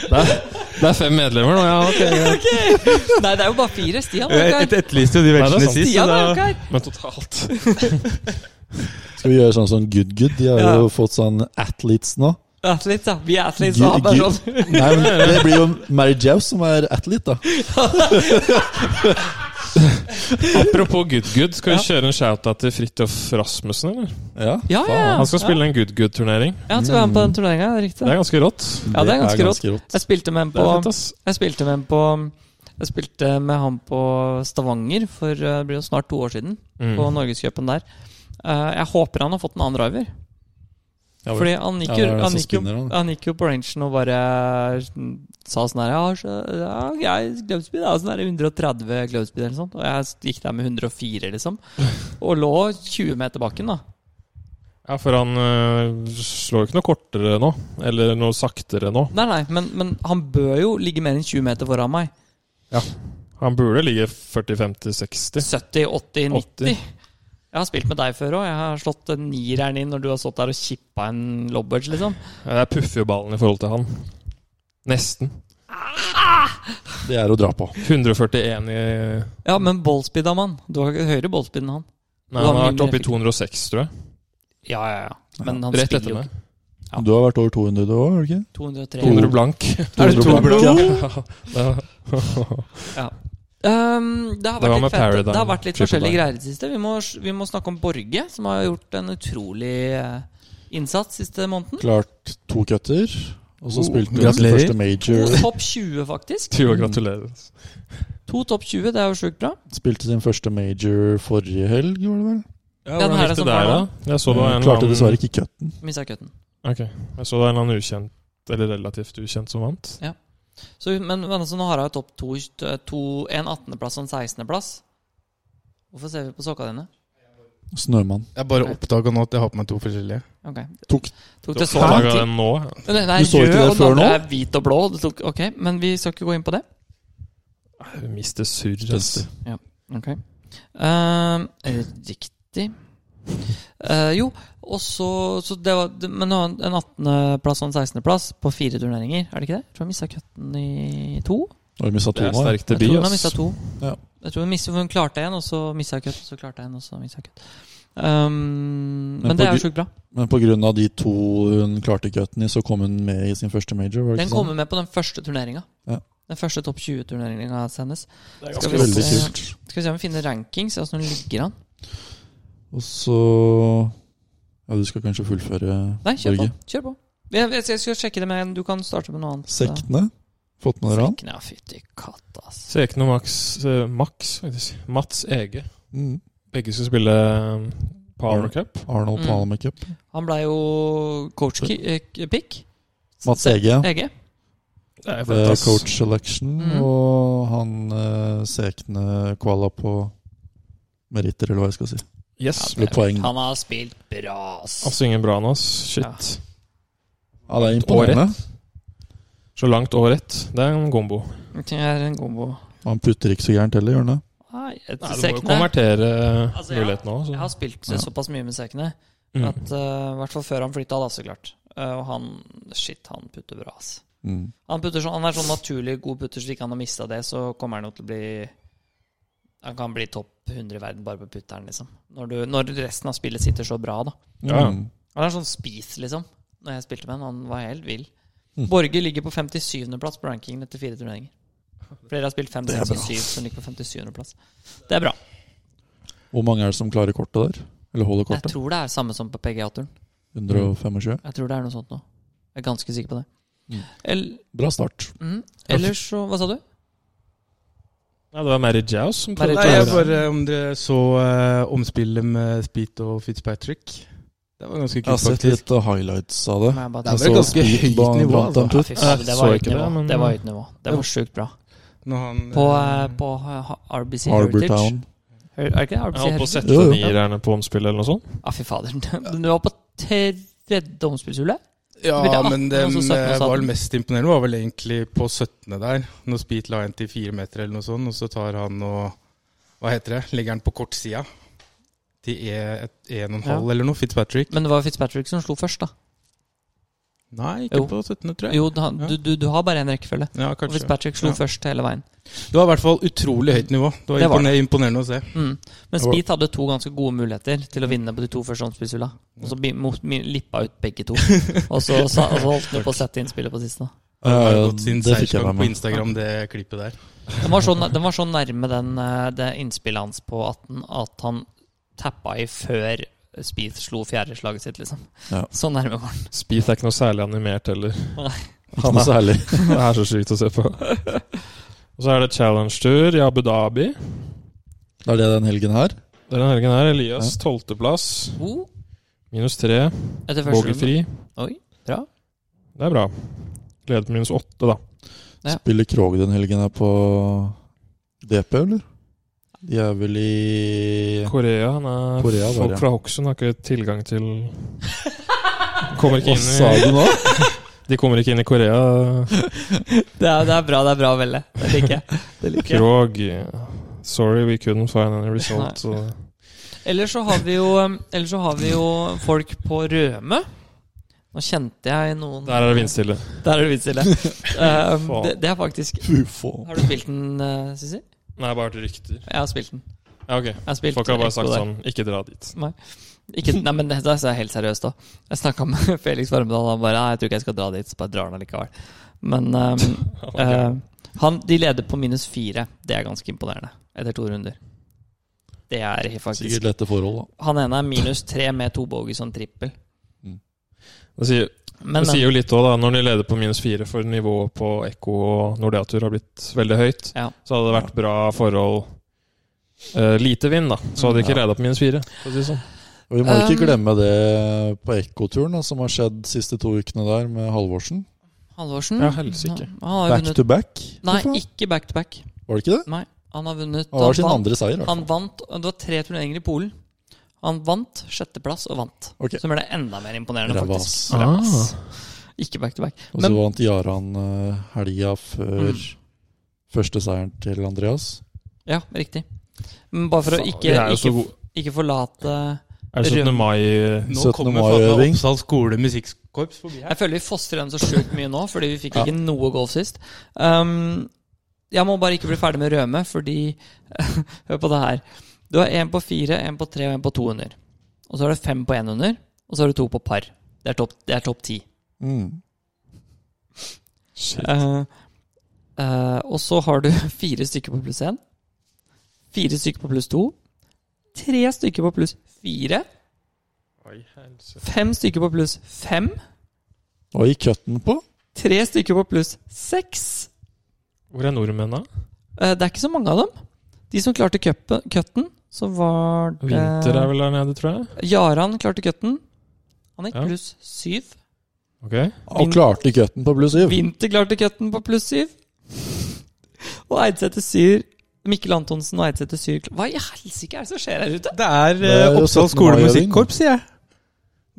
[SPEAKER 3] er, det er fem medlemmer nå, (laughs) ja. ok.
[SPEAKER 1] (laughs) Nei, det er jo bare fire. Stian var
[SPEAKER 4] Jeg
[SPEAKER 1] ikke
[SPEAKER 4] et
[SPEAKER 1] her.
[SPEAKER 4] etterlyste jo de
[SPEAKER 3] Nei, det er
[SPEAKER 4] vetsjene
[SPEAKER 3] sant.
[SPEAKER 4] sist. så
[SPEAKER 1] Stian var jo
[SPEAKER 4] da-
[SPEAKER 1] ikke her.
[SPEAKER 3] Men totalt.
[SPEAKER 2] Skal vi gjøre sånn som Good Good? De har jo fått sånn athletes nå.
[SPEAKER 1] Athletes, da. Vi er athletes.
[SPEAKER 2] Gud-
[SPEAKER 1] da. Bare
[SPEAKER 2] Gud-
[SPEAKER 1] sånn.
[SPEAKER 2] Nei, men Det blir jo Mary Jaus som er athlete, da.
[SPEAKER 3] Apropos Good Good, skal vi kjøre en shout-out til Fridtjof Rasmussen, eller?
[SPEAKER 2] Ja,
[SPEAKER 1] Ja, ja, ja.
[SPEAKER 3] Han skal spille en Good Good-turnering.
[SPEAKER 1] Ja, han skal være med på den turneringa. Det er riktig.
[SPEAKER 3] Det er ganske rått.
[SPEAKER 1] Ja, det er ganske rått. Jeg spilte med en
[SPEAKER 3] Det er fett,
[SPEAKER 1] på
[SPEAKER 3] ass.
[SPEAKER 1] Jeg spilte med en på Jeg spilte med han på Stavanger for eh, det blir jo snart to år siden.
[SPEAKER 3] Mm.
[SPEAKER 2] Mhm.
[SPEAKER 1] På Norgescupen der. Eh, Jeg håper han har fått en annen driver.
[SPEAKER 2] Ja, vel.
[SPEAKER 1] Fordi han gikk,
[SPEAKER 2] Ja,
[SPEAKER 1] jo,
[SPEAKER 2] det er det
[SPEAKER 1] han,
[SPEAKER 2] som
[SPEAKER 1] gikk jo,
[SPEAKER 2] spinner, han.
[SPEAKER 1] han gikk jo på rangen og bare mm, sa sånn her Ja, så, ja jeg, glow speed er sånn her 130 glow speed eller sånt. Og jeg gikk der med 104, liksom. Og lå 20 meter bak den, da.
[SPEAKER 3] Ja, for han øh, slår jo ikke noe kortere nå. Eller noe saktere nå.
[SPEAKER 1] Nei, nei, men, men han bør jo ligge mer enn 20 meter foran meg.
[SPEAKER 3] Han burde ligge 40-50-60.
[SPEAKER 1] 70, 80, 90.
[SPEAKER 3] 80.
[SPEAKER 1] Jeg har spilt med deg før òg. Jeg har slått en nieren inn når du har stått der og kippa en lobbedge, liksom.
[SPEAKER 3] Jeg puffer jo ballen i forhold til han. Nesten.
[SPEAKER 1] Ah!
[SPEAKER 2] Det er å dra på.
[SPEAKER 3] 141 i
[SPEAKER 1] Ja, men ballspeed av mann. Du har høyere ballspeed enn han.
[SPEAKER 3] Nei, han har vært oppe i 206, tror jeg.
[SPEAKER 1] Ja, ja, ja. Men han
[SPEAKER 3] Rett etter
[SPEAKER 1] spiller jo
[SPEAKER 3] meg.
[SPEAKER 1] Ja.
[SPEAKER 2] Du har vært over 200, du òg?
[SPEAKER 1] 203.
[SPEAKER 3] 200 blank.
[SPEAKER 1] Er det to
[SPEAKER 3] (laughs)
[SPEAKER 1] blå?
[SPEAKER 3] Ja. (laughs)
[SPEAKER 1] Um, det, har
[SPEAKER 3] Det
[SPEAKER 1] vært
[SPEAKER 3] var
[SPEAKER 1] litt
[SPEAKER 3] med
[SPEAKER 1] fett.
[SPEAKER 3] Paradigm.
[SPEAKER 1] det har vært litt
[SPEAKER 3] Triple
[SPEAKER 1] forskjellige
[SPEAKER 3] Dime.
[SPEAKER 1] greier i det siste. Vi må, vi må snakke om Borge, som har gjort en utrolig eh, innsats siste måneden.
[SPEAKER 2] Klart to cutter. Og så
[SPEAKER 4] Oh,
[SPEAKER 2] spilte hun sin
[SPEAKER 4] gratulerer.
[SPEAKER 2] første major
[SPEAKER 1] To topp 20, faktisk.
[SPEAKER 3] Du og gratulerer.
[SPEAKER 1] To topp 20, det er jo sjukt bra.
[SPEAKER 2] Spilte sin første major forrige helg, var det vel? Eh,
[SPEAKER 1] Den hvordan her gikk er det som der, var da?
[SPEAKER 3] Jeg så det var en
[SPEAKER 2] Klarte
[SPEAKER 3] annen-
[SPEAKER 2] dessverre ikke cutten.
[SPEAKER 1] Missa cutten.
[SPEAKER 3] Ok. Jeg så det var en eller annen ukjent, eller relativt ukjent, som vant.
[SPEAKER 1] Så, men, men altså, nå har hun topp to, eh, to En 18.-plass og en 16.-plass. Hvorfor ser vi på sokka dine?
[SPEAKER 2] Snømann.
[SPEAKER 4] Jeg bare oppdaga nå at jeg har på meg to forskjellige.
[SPEAKER 1] Ok.
[SPEAKER 2] Tok-
[SPEAKER 1] Tok
[SPEAKER 3] Du
[SPEAKER 1] det så lang
[SPEAKER 3] oppdaget
[SPEAKER 1] tid.
[SPEAKER 3] den nå?
[SPEAKER 1] Nei, nei,
[SPEAKER 2] Du så
[SPEAKER 1] rød,
[SPEAKER 2] ikke det
[SPEAKER 1] og den
[SPEAKER 2] før
[SPEAKER 1] andre
[SPEAKER 2] nå?
[SPEAKER 1] er hvit og blå. Det tok, ok, Men vi skal ikke gå inn på det.
[SPEAKER 3] Jeg Mister surr, altså. ass.
[SPEAKER 2] Spenstig.
[SPEAKER 1] Ok. Ehm, eh, riktig. Eh, jo, og så, så det var, det- Men nå har han en 18.-plass og en 16.-plass på fire turneringer, er det ikke det? Jeg tror han mista cutten i to.
[SPEAKER 2] Og vi mista
[SPEAKER 3] Det
[SPEAKER 2] to
[SPEAKER 3] er
[SPEAKER 2] nå. ja.
[SPEAKER 3] sterk
[SPEAKER 1] jeg
[SPEAKER 3] debut,
[SPEAKER 1] tror hun har
[SPEAKER 3] ass.
[SPEAKER 1] mistet to.
[SPEAKER 2] Ja.
[SPEAKER 1] Jeg tror hun, mistet, hun klarte en, og så mista jeg cut, og så klarte jeg en, og så mista jeg cut. Um, men
[SPEAKER 2] på
[SPEAKER 1] det er
[SPEAKER 2] gru-
[SPEAKER 1] jo sjukt bra.
[SPEAKER 2] Men pga. de to hun klarte cutten i, så kom hun med i sin første major? Var det
[SPEAKER 1] Den
[SPEAKER 2] ikke sånn?
[SPEAKER 1] kommer med på den første turneringa.
[SPEAKER 2] Ja.
[SPEAKER 1] Den første topp 20-turneringa hennes.
[SPEAKER 3] Det
[SPEAKER 1] Skal
[SPEAKER 3] er ganske
[SPEAKER 1] vi
[SPEAKER 2] Veldig
[SPEAKER 1] se.
[SPEAKER 2] kult.
[SPEAKER 1] Skal vi se om vi finner rankings, altså når den ligger an.
[SPEAKER 2] Og så Ja, du skal kanskje fullføre,
[SPEAKER 1] Nei, kjør på.
[SPEAKER 2] Børge.
[SPEAKER 1] Kjør på. Jeg, jeg, jeg skal sjekke det med en. Du kan starte med noe annet.
[SPEAKER 2] Sektene? Fått med dere han?
[SPEAKER 1] Sekken, ja, fytti katta, ass.
[SPEAKER 3] Sekno Max, eh, Max faktisk. Mats Ege.
[SPEAKER 2] Mm.
[SPEAKER 3] Begge skal spille eh, Power
[SPEAKER 2] Mm.
[SPEAKER 3] Cup.
[SPEAKER 2] Arnold
[SPEAKER 1] Mm.
[SPEAKER 2] Palmer Cup.
[SPEAKER 1] Han blei jo coach ki- eh, pick.
[SPEAKER 2] Mats Ege.
[SPEAKER 1] Ege.
[SPEAKER 3] Det er
[SPEAKER 2] Det er coach selection,
[SPEAKER 1] Mm.
[SPEAKER 2] og han eh, Sekne kvala på meritter, eller hva jeg skal si.
[SPEAKER 3] Yes.
[SPEAKER 2] Eller poeng.
[SPEAKER 1] Han har spilt bra, ass.
[SPEAKER 3] Han synger bra nå, ass. Shit.
[SPEAKER 1] Ja.
[SPEAKER 2] Ja, det er imponerende.
[SPEAKER 3] Så langt og rett. Det er en gombo.
[SPEAKER 1] Det er en kombo.
[SPEAKER 2] Han putter ikke så gærent heller, gjør han det?
[SPEAKER 1] Nei, et
[SPEAKER 3] Nei, du må jo
[SPEAKER 1] sekne.
[SPEAKER 3] konvertere eh,
[SPEAKER 1] Altså, ja.
[SPEAKER 3] muligheten òg.
[SPEAKER 1] Jeg har spilt
[SPEAKER 2] Ja.
[SPEAKER 1] såpass mye med sekene
[SPEAKER 3] Mm.
[SPEAKER 1] at eh, I hvert fall før han flytta, da, så klart. Eh, og han Shit, han putter bra, ass.
[SPEAKER 2] Mm.
[SPEAKER 1] Han, putter sånn, han er sånn naturlig god putter, så hvis ikke han har mista det, så kommer han jo til å bli Han kan bli topp 100 i verden bare på putteren, liksom. Når, du, når resten av spillet sitter så bra, da.
[SPEAKER 3] Ja.
[SPEAKER 2] Mm.
[SPEAKER 1] Han er sånn spis, liksom. Når jeg spilte med han, han var helt vill.
[SPEAKER 2] Mm.
[SPEAKER 1] Borge ligger på 57.-plass på rankingen etter fire turneringer. Flere har spilt 5,
[SPEAKER 2] Det er
[SPEAKER 1] 6
[SPEAKER 2] bra.
[SPEAKER 1] og 7, som ligger på 57.-plass. Det er bra.
[SPEAKER 2] Hvor mange er det som klarer kortet der? Eller holder
[SPEAKER 1] Jeg
[SPEAKER 2] kortet?
[SPEAKER 1] tror det er samme som på PGA-turen.
[SPEAKER 2] 125.
[SPEAKER 1] Jeg tror det er noe sånt nå. Jeg er ganske sikker på det.
[SPEAKER 2] Mm.
[SPEAKER 1] El,
[SPEAKER 2] Bra start.
[SPEAKER 1] mm, ellers så Hva sa du?
[SPEAKER 3] Nei, det var Mary Jouse som
[SPEAKER 1] Mary
[SPEAKER 3] prøvde
[SPEAKER 4] Nei,
[SPEAKER 1] Jouse.
[SPEAKER 3] å
[SPEAKER 4] jeg
[SPEAKER 3] gjøre det.
[SPEAKER 4] bare Om dere så eh, omspillet med Speed og Fitzpatrick Det var ganske
[SPEAKER 2] Jeg har
[SPEAKER 4] kult,
[SPEAKER 2] sett
[SPEAKER 4] faktisk.
[SPEAKER 2] litt eh, highlights av det.
[SPEAKER 1] Må jeg bare
[SPEAKER 4] Det er
[SPEAKER 1] ta-
[SPEAKER 4] vel
[SPEAKER 2] Jeg så
[SPEAKER 4] ganske høyt
[SPEAKER 2] Speedball
[SPEAKER 4] nivå,
[SPEAKER 2] blant
[SPEAKER 4] altså.
[SPEAKER 2] annet ut.
[SPEAKER 1] Ja, fy faen, det
[SPEAKER 3] Jeg
[SPEAKER 1] var
[SPEAKER 3] så
[SPEAKER 1] høyt
[SPEAKER 3] ikke det,
[SPEAKER 1] nivå.
[SPEAKER 3] men-
[SPEAKER 1] Det var høyt nivå. Det var sjukt bra.
[SPEAKER 4] Når han
[SPEAKER 1] På,
[SPEAKER 4] eh,
[SPEAKER 1] eh, på eh, RBC
[SPEAKER 2] Harbour
[SPEAKER 1] Heritage.
[SPEAKER 2] Town.
[SPEAKER 1] Her- Er det ikke det?
[SPEAKER 3] Jeg
[SPEAKER 1] RBC
[SPEAKER 3] holdt på å
[SPEAKER 1] Heritage?
[SPEAKER 3] sette
[SPEAKER 2] Jo, jo.
[SPEAKER 3] nierne på omspillet eller noe sånt.
[SPEAKER 1] Ja, fy fader. (laughs) Du var på tredje omspillshullet?
[SPEAKER 4] Ja,
[SPEAKER 1] (laughs) Spilte
[SPEAKER 4] men
[SPEAKER 1] 18,
[SPEAKER 4] det
[SPEAKER 1] og så 17 og
[SPEAKER 4] eh, var
[SPEAKER 1] 17.
[SPEAKER 4] mest imponerende var vel egentlig på 17. der. Når Speed la en til fire meter eller noe sånt, og så tar han og Hva heter det? Legger han på kortsida. Til e, 1,5
[SPEAKER 1] Ja.
[SPEAKER 4] eller noe. Fitzpatrick.
[SPEAKER 1] Men det var Fitzpatrick som slo først, da.
[SPEAKER 4] Nei, ikke
[SPEAKER 1] Jo.
[SPEAKER 4] på 17., tror jeg.
[SPEAKER 1] Jo, da- du, du, du har bare én rekkefølge.
[SPEAKER 4] Ja,
[SPEAKER 1] Og
[SPEAKER 4] kanskje.
[SPEAKER 1] Fitzpatrick slo
[SPEAKER 4] Ja.
[SPEAKER 1] først hele veien.
[SPEAKER 4] Det var i hvert fall utrolig høyt nivå. Det var,
[SPEAKER 1] Det var
[SPEAKER 4] impone- imponerende å se.
[SPEAKER 1] Mm. Men Speed hadde to ganske gode muligheter til å vinne på de to første omspillshulla. Og så bi- mot- mi- lippa ut begge
[SPEAKER 4] (laughs)
[SPEAKER 1] to. Og så, så, og så holdt han på å sette inn spillet på siste. da.
[SPEAKER 4] Det har
[SPEAKER 2] Ja,
[SPEAKER 4] gått sin
[SPEAKER 2] det fikk jeg
[SPEAKER 4] seiersgang
[SPEAKER 2] med
[SPEAKER 4] på
[SPEAKER 2] meg.
[SPEAKER 4] Instagram, det klippet der.
[SPEAKER 1] Den var så, nær- den var så nærme den, eh, det innspillet hans på 18 at han tappa i før Speed slo fjerdeslaget sitt, liksom.
[SPEAKER 2] Ja.
[SPEAKER 1] Så nærme var han.
[SPEAKER 3] Speeth er ikke noe særlig animert heller. (laughs)
[SPEAKER 2] Ikke noe særlig.
[SPEAKER 3] Det er så sykt å se
[SPEAKER 1] (laughs)
[SPEAKER 3] på. Og så er det challenge-tur i Abu Dhabi.
[SPEAKER 2] Det er det den helgen her.
[SPEAKER 3] Det er den helgen her. Elias, tolvteplass.
[SPEAKER 1] To
[SPEAKER 3] Minus tre.
[SPEAKER 1] etter første runde.
[SPEAKER 3] Vogelfri.
[SPEAKER 1] Oi, bra.
[SPEAKER 3] Det er bra. Leder på minus åtte, da.
[SPEAKER 1] Ja.
[SPEAKER 2] Spiller Krog den helgen her på DP, eller? De er vel i
[SPEAKER 3] Korea han er
[SPEAKER 2] Korea var det,
[SPEAKER 3] Folk
[SPEAKER 2] ja.
[SPEAKER 3] fra Hokksund har ikke tilgang til Kommer ikke
[SPEAKER 2] Hva sa
[SPEAKER 3] inn i,
[SPEAKER 2] du nå?
[SPEAKER 3] De kommer ikke inn i Korea.
[SPEAKER 1] Det er, det er bra, det er bra, Velle. Det liker jeg. Det liker jeg.
[SPEAKER 3] Krog Sorry, we couldn't find any result. Så.
[SPEAKER 1] Ellers så har vi jo, ellers så har vi jo folk på Røme. Nå kjente jeg noen
[SPEAKER 3] Der er det vindstille.
[SPEAKER 1] Der er det
[SPEAKER 3] (laughs)
[SPEAKER 1] vindstille. Um,
[SPEAKER 3] Faen.
[SPEAKER 1] det, det er faktisk
[SPEAKER 2] (laughs) Fy faen.
[SPEAKER 1] Har du spilt den, eh, Sissy?
[SPEAKER 3] Nei, bare hørt rykter.
[SPEAKER 1] Jeg har spilt den.
[SPEAKER 3] Ja, ok.
[SPEAKER 1] Jeg har spilt
[SPEAKER 3] Folk har bare
[SPEAKER 1] Ekko
[SPEAKER 3] sagt
[SPEAKER 1] der.
[SPEAKER 3] sånn Ikke dra dit.
[SPEAKER 1] Ikke, nei, men det, det er helt seriøst, da. Jeg snakka med (laughs) Felix Varmedal, og han bare Nei, jeg tror ikke jeg skal dra dit. Så bare drar han allikevel. Men um,
[SPEAKER 3] (laughs)
[SPEAKER 1] eh, han, de leder på minus fire. Det er ganske imponerende etter to runder. Det er faktisk
[SPEAKER 2] Sikkert lette forhold, da.
[SPEAKER 1] Han ene er minus tre med to bogies og en trippel.
[SPEAKER 3] Det sier,
[SPEAKER 1] Men,
[SPEAKER 3] det sier jo litt òg, da. Når de leder på minus fire, for nivået på Ekko og Nordeatur har blitt veldig høyt,
[SPEAKER 1] Ja.
[SPEAKER 3] så hadde det vært bra forhold eh, Lite vind, da. Så hadde de ikke
[SPEAKER 2] Ja.
[SPEAKER 3] leda på minus fire. For å si det sånn.
[SPEAKER 2] Og vi må ikke
[SPEAKER 1] Um,
[SPEAKER 2] glemme det på Ekkoturen da, som har skjedd de siste to ukene der med Halvorsen.
[SPEAKER 1] Halvorsen
[SPEAKER 3] Ja, helsike.
[SPEAKER 1] Han har jo
[SPEAKER 2] Back
[SPEAKER 1] vunnet
[SPEAKER 2] to back.
[SPEAKER 1] Nei,
[SPEAKER 2] for faen.
[SPEAKER 1] ikke back to back.
[SPEAKER 2] Var det ikke det?
[SPEAKER 1] Nei, han har vunnet
[SPEAKER 2] Han var sin
[SPEAKER 1] vant,
[SPEAKER 2] andre seier. i hvert fall.
[SPEAKER 1] han vant Det var tre turneringer i Polen. Han vant sjetteplass og vant.
[SPEAKER 2] Ok.
[SPEAKER 1] Som er det enda mer imponerende,
[SPEAKER 2] Ræva,
[SPEAKER 1] faktisk.
[SPEAKER 2] ass.
[SPEAKER 1] Ræva,
[SPEAKER 3] Ah.
[SPEAKER 1] ass. Ikke back to back.
[SPEAKER 2] Og så
[SPEAKER 1] Men
[SPEAKER 2] vant Jaran eh, helga før
[SPEAKER 1] Mm.
[SPEAKER 2] første seieren til Andreas.
[SPEAKER 1] Ja, riktig. Men bare for å
[SPEAKER 3] Faen,
[SPEAKER 1] ikke,
[SPEAKER 3] vi er jo så
[SPEAKER 1] ikke,
[SPEAKER 3] gode.
[SPEAKER 1] ikke forlate
[SPEAKER 3] Er det 17.
[SPEAKER 1] Røm-
[SPEAKER 3] mai
[SPEAKER 4] Nå
[SPEAKER 2] 17.
[SPEAKER 4] kommer
[SPEAKER 2] mai-øving.
[SPEAKER 4] faen meg Oppsal skole musikkorps forbi her.
[SPEAKER 1] Jeg føler vi fostrer dem så sjukt mye nå, fordi vi fikk
[SPEAKER 2] Ja.
[SPEAKER 1] ikke noe golf sist. Um, jeg må bare ikke bli ferdig med røme, fordi (laughs) Hør på det her. Du har én på fire, én på tre og én på to under. Og så har du fem på én under, og så har du to på par. Det er topp det er topp ti.
[SPEAKER 2] Mm.
[SPEAKER 3] Shit.
[SPEAKER 1] Eh, eh, og så har du (laughs) fire stykker på pluss én. Fire stykker på pluss to. Tre stykker på pluss fire. Fem stykker på pluss fem.
[SPEAKER 2] Og gikk cutten på.
[SPEAKER 1] Tre stykker på pluss seks.
[SPEAKER 3] Hvor er nordmenn, da?
[SPEAKER 1] Eh, Det er ikke så mange av dem. De som klarte cupen- cutten, så var det
[SPEAKER 3] Vinter er vel der nede, tror jeg.
[SPEAKER 1] Jaran klarte cutten. Han gikk
[SPEAKER 3] Ja.
[SPEAKER 1] pluss syv.
[SPEAKER 3] Ok.
[SPEAKER 2] Og klarte cutten på pluss syv.
[SPEAKER 1] Vinter klarte cutten på pluss syv. Og Eidsæter Syr Mikkel Antonsen og Eidsæter Syr Hva i helsike er det som skjer her ute?
[SPEAKER 4] Det er
[SPEAKER 2] Det er
[SPEAKER 4] eh,
[SPEAKER 2] jo
[SPEAKER 4] Oppsal
[SPEAKER 2] 17.
[SPEAKER 4] skole
[SPEAKER 2] mai-øving.
[SPEAKER 4] musikkorps, sier jeg.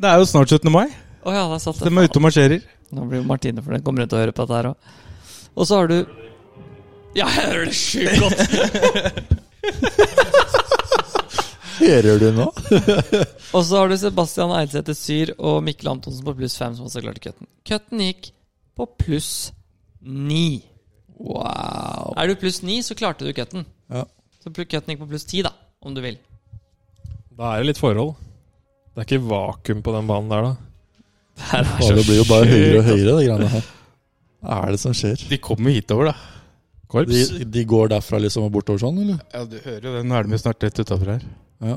[SPEAKER 4] Det er jo snart 17. mai.
[SPEAKER 1] Å ja, der satt
[SPEAKER 4] Så de er ute og marsjerer.
[SPEAKER 1] Nå blir jo Martine for den kommer rundt og hører på dette her òg. Og så har du Ja, jeg hører det sjukt godt!
[SPEAKER 2] Hører du nå?
[SPEAKER 1] Og så har du Sebastian Eidsæter Syr og Mikkel Antonsen på pluss fem, som også klarte cutten. Cutten gikk på pluss ni.
[SPEAKER 2] Wow.
[SPEAKER 1] Er du pluss ni, så klarte du cutten.
[SPEAKER 2] Ja.
[SPEAKER 1] Så pl- cutten gikk på pluss ti, da, om du vil.
[SPEAKER 3] Da er det litt forhold. Det er ikke vakuum på den banen der, da.
[SPEAKER 2] Og det blir jo bare høyere og høyere, de greiene her. Hva er det som skjer?
[SPEAKER 4] De kommer hitover, da.
[SPEAKER 2] De,
[SPEAKER 3] Korps.
[SPEAKER 2] de går derfra liksom og bortover sånn, eller?
[SPEAKER 4] Ja, du hører jo det. Nå er de jo snart rett utafor her.
[SPEAKER 2] Ja.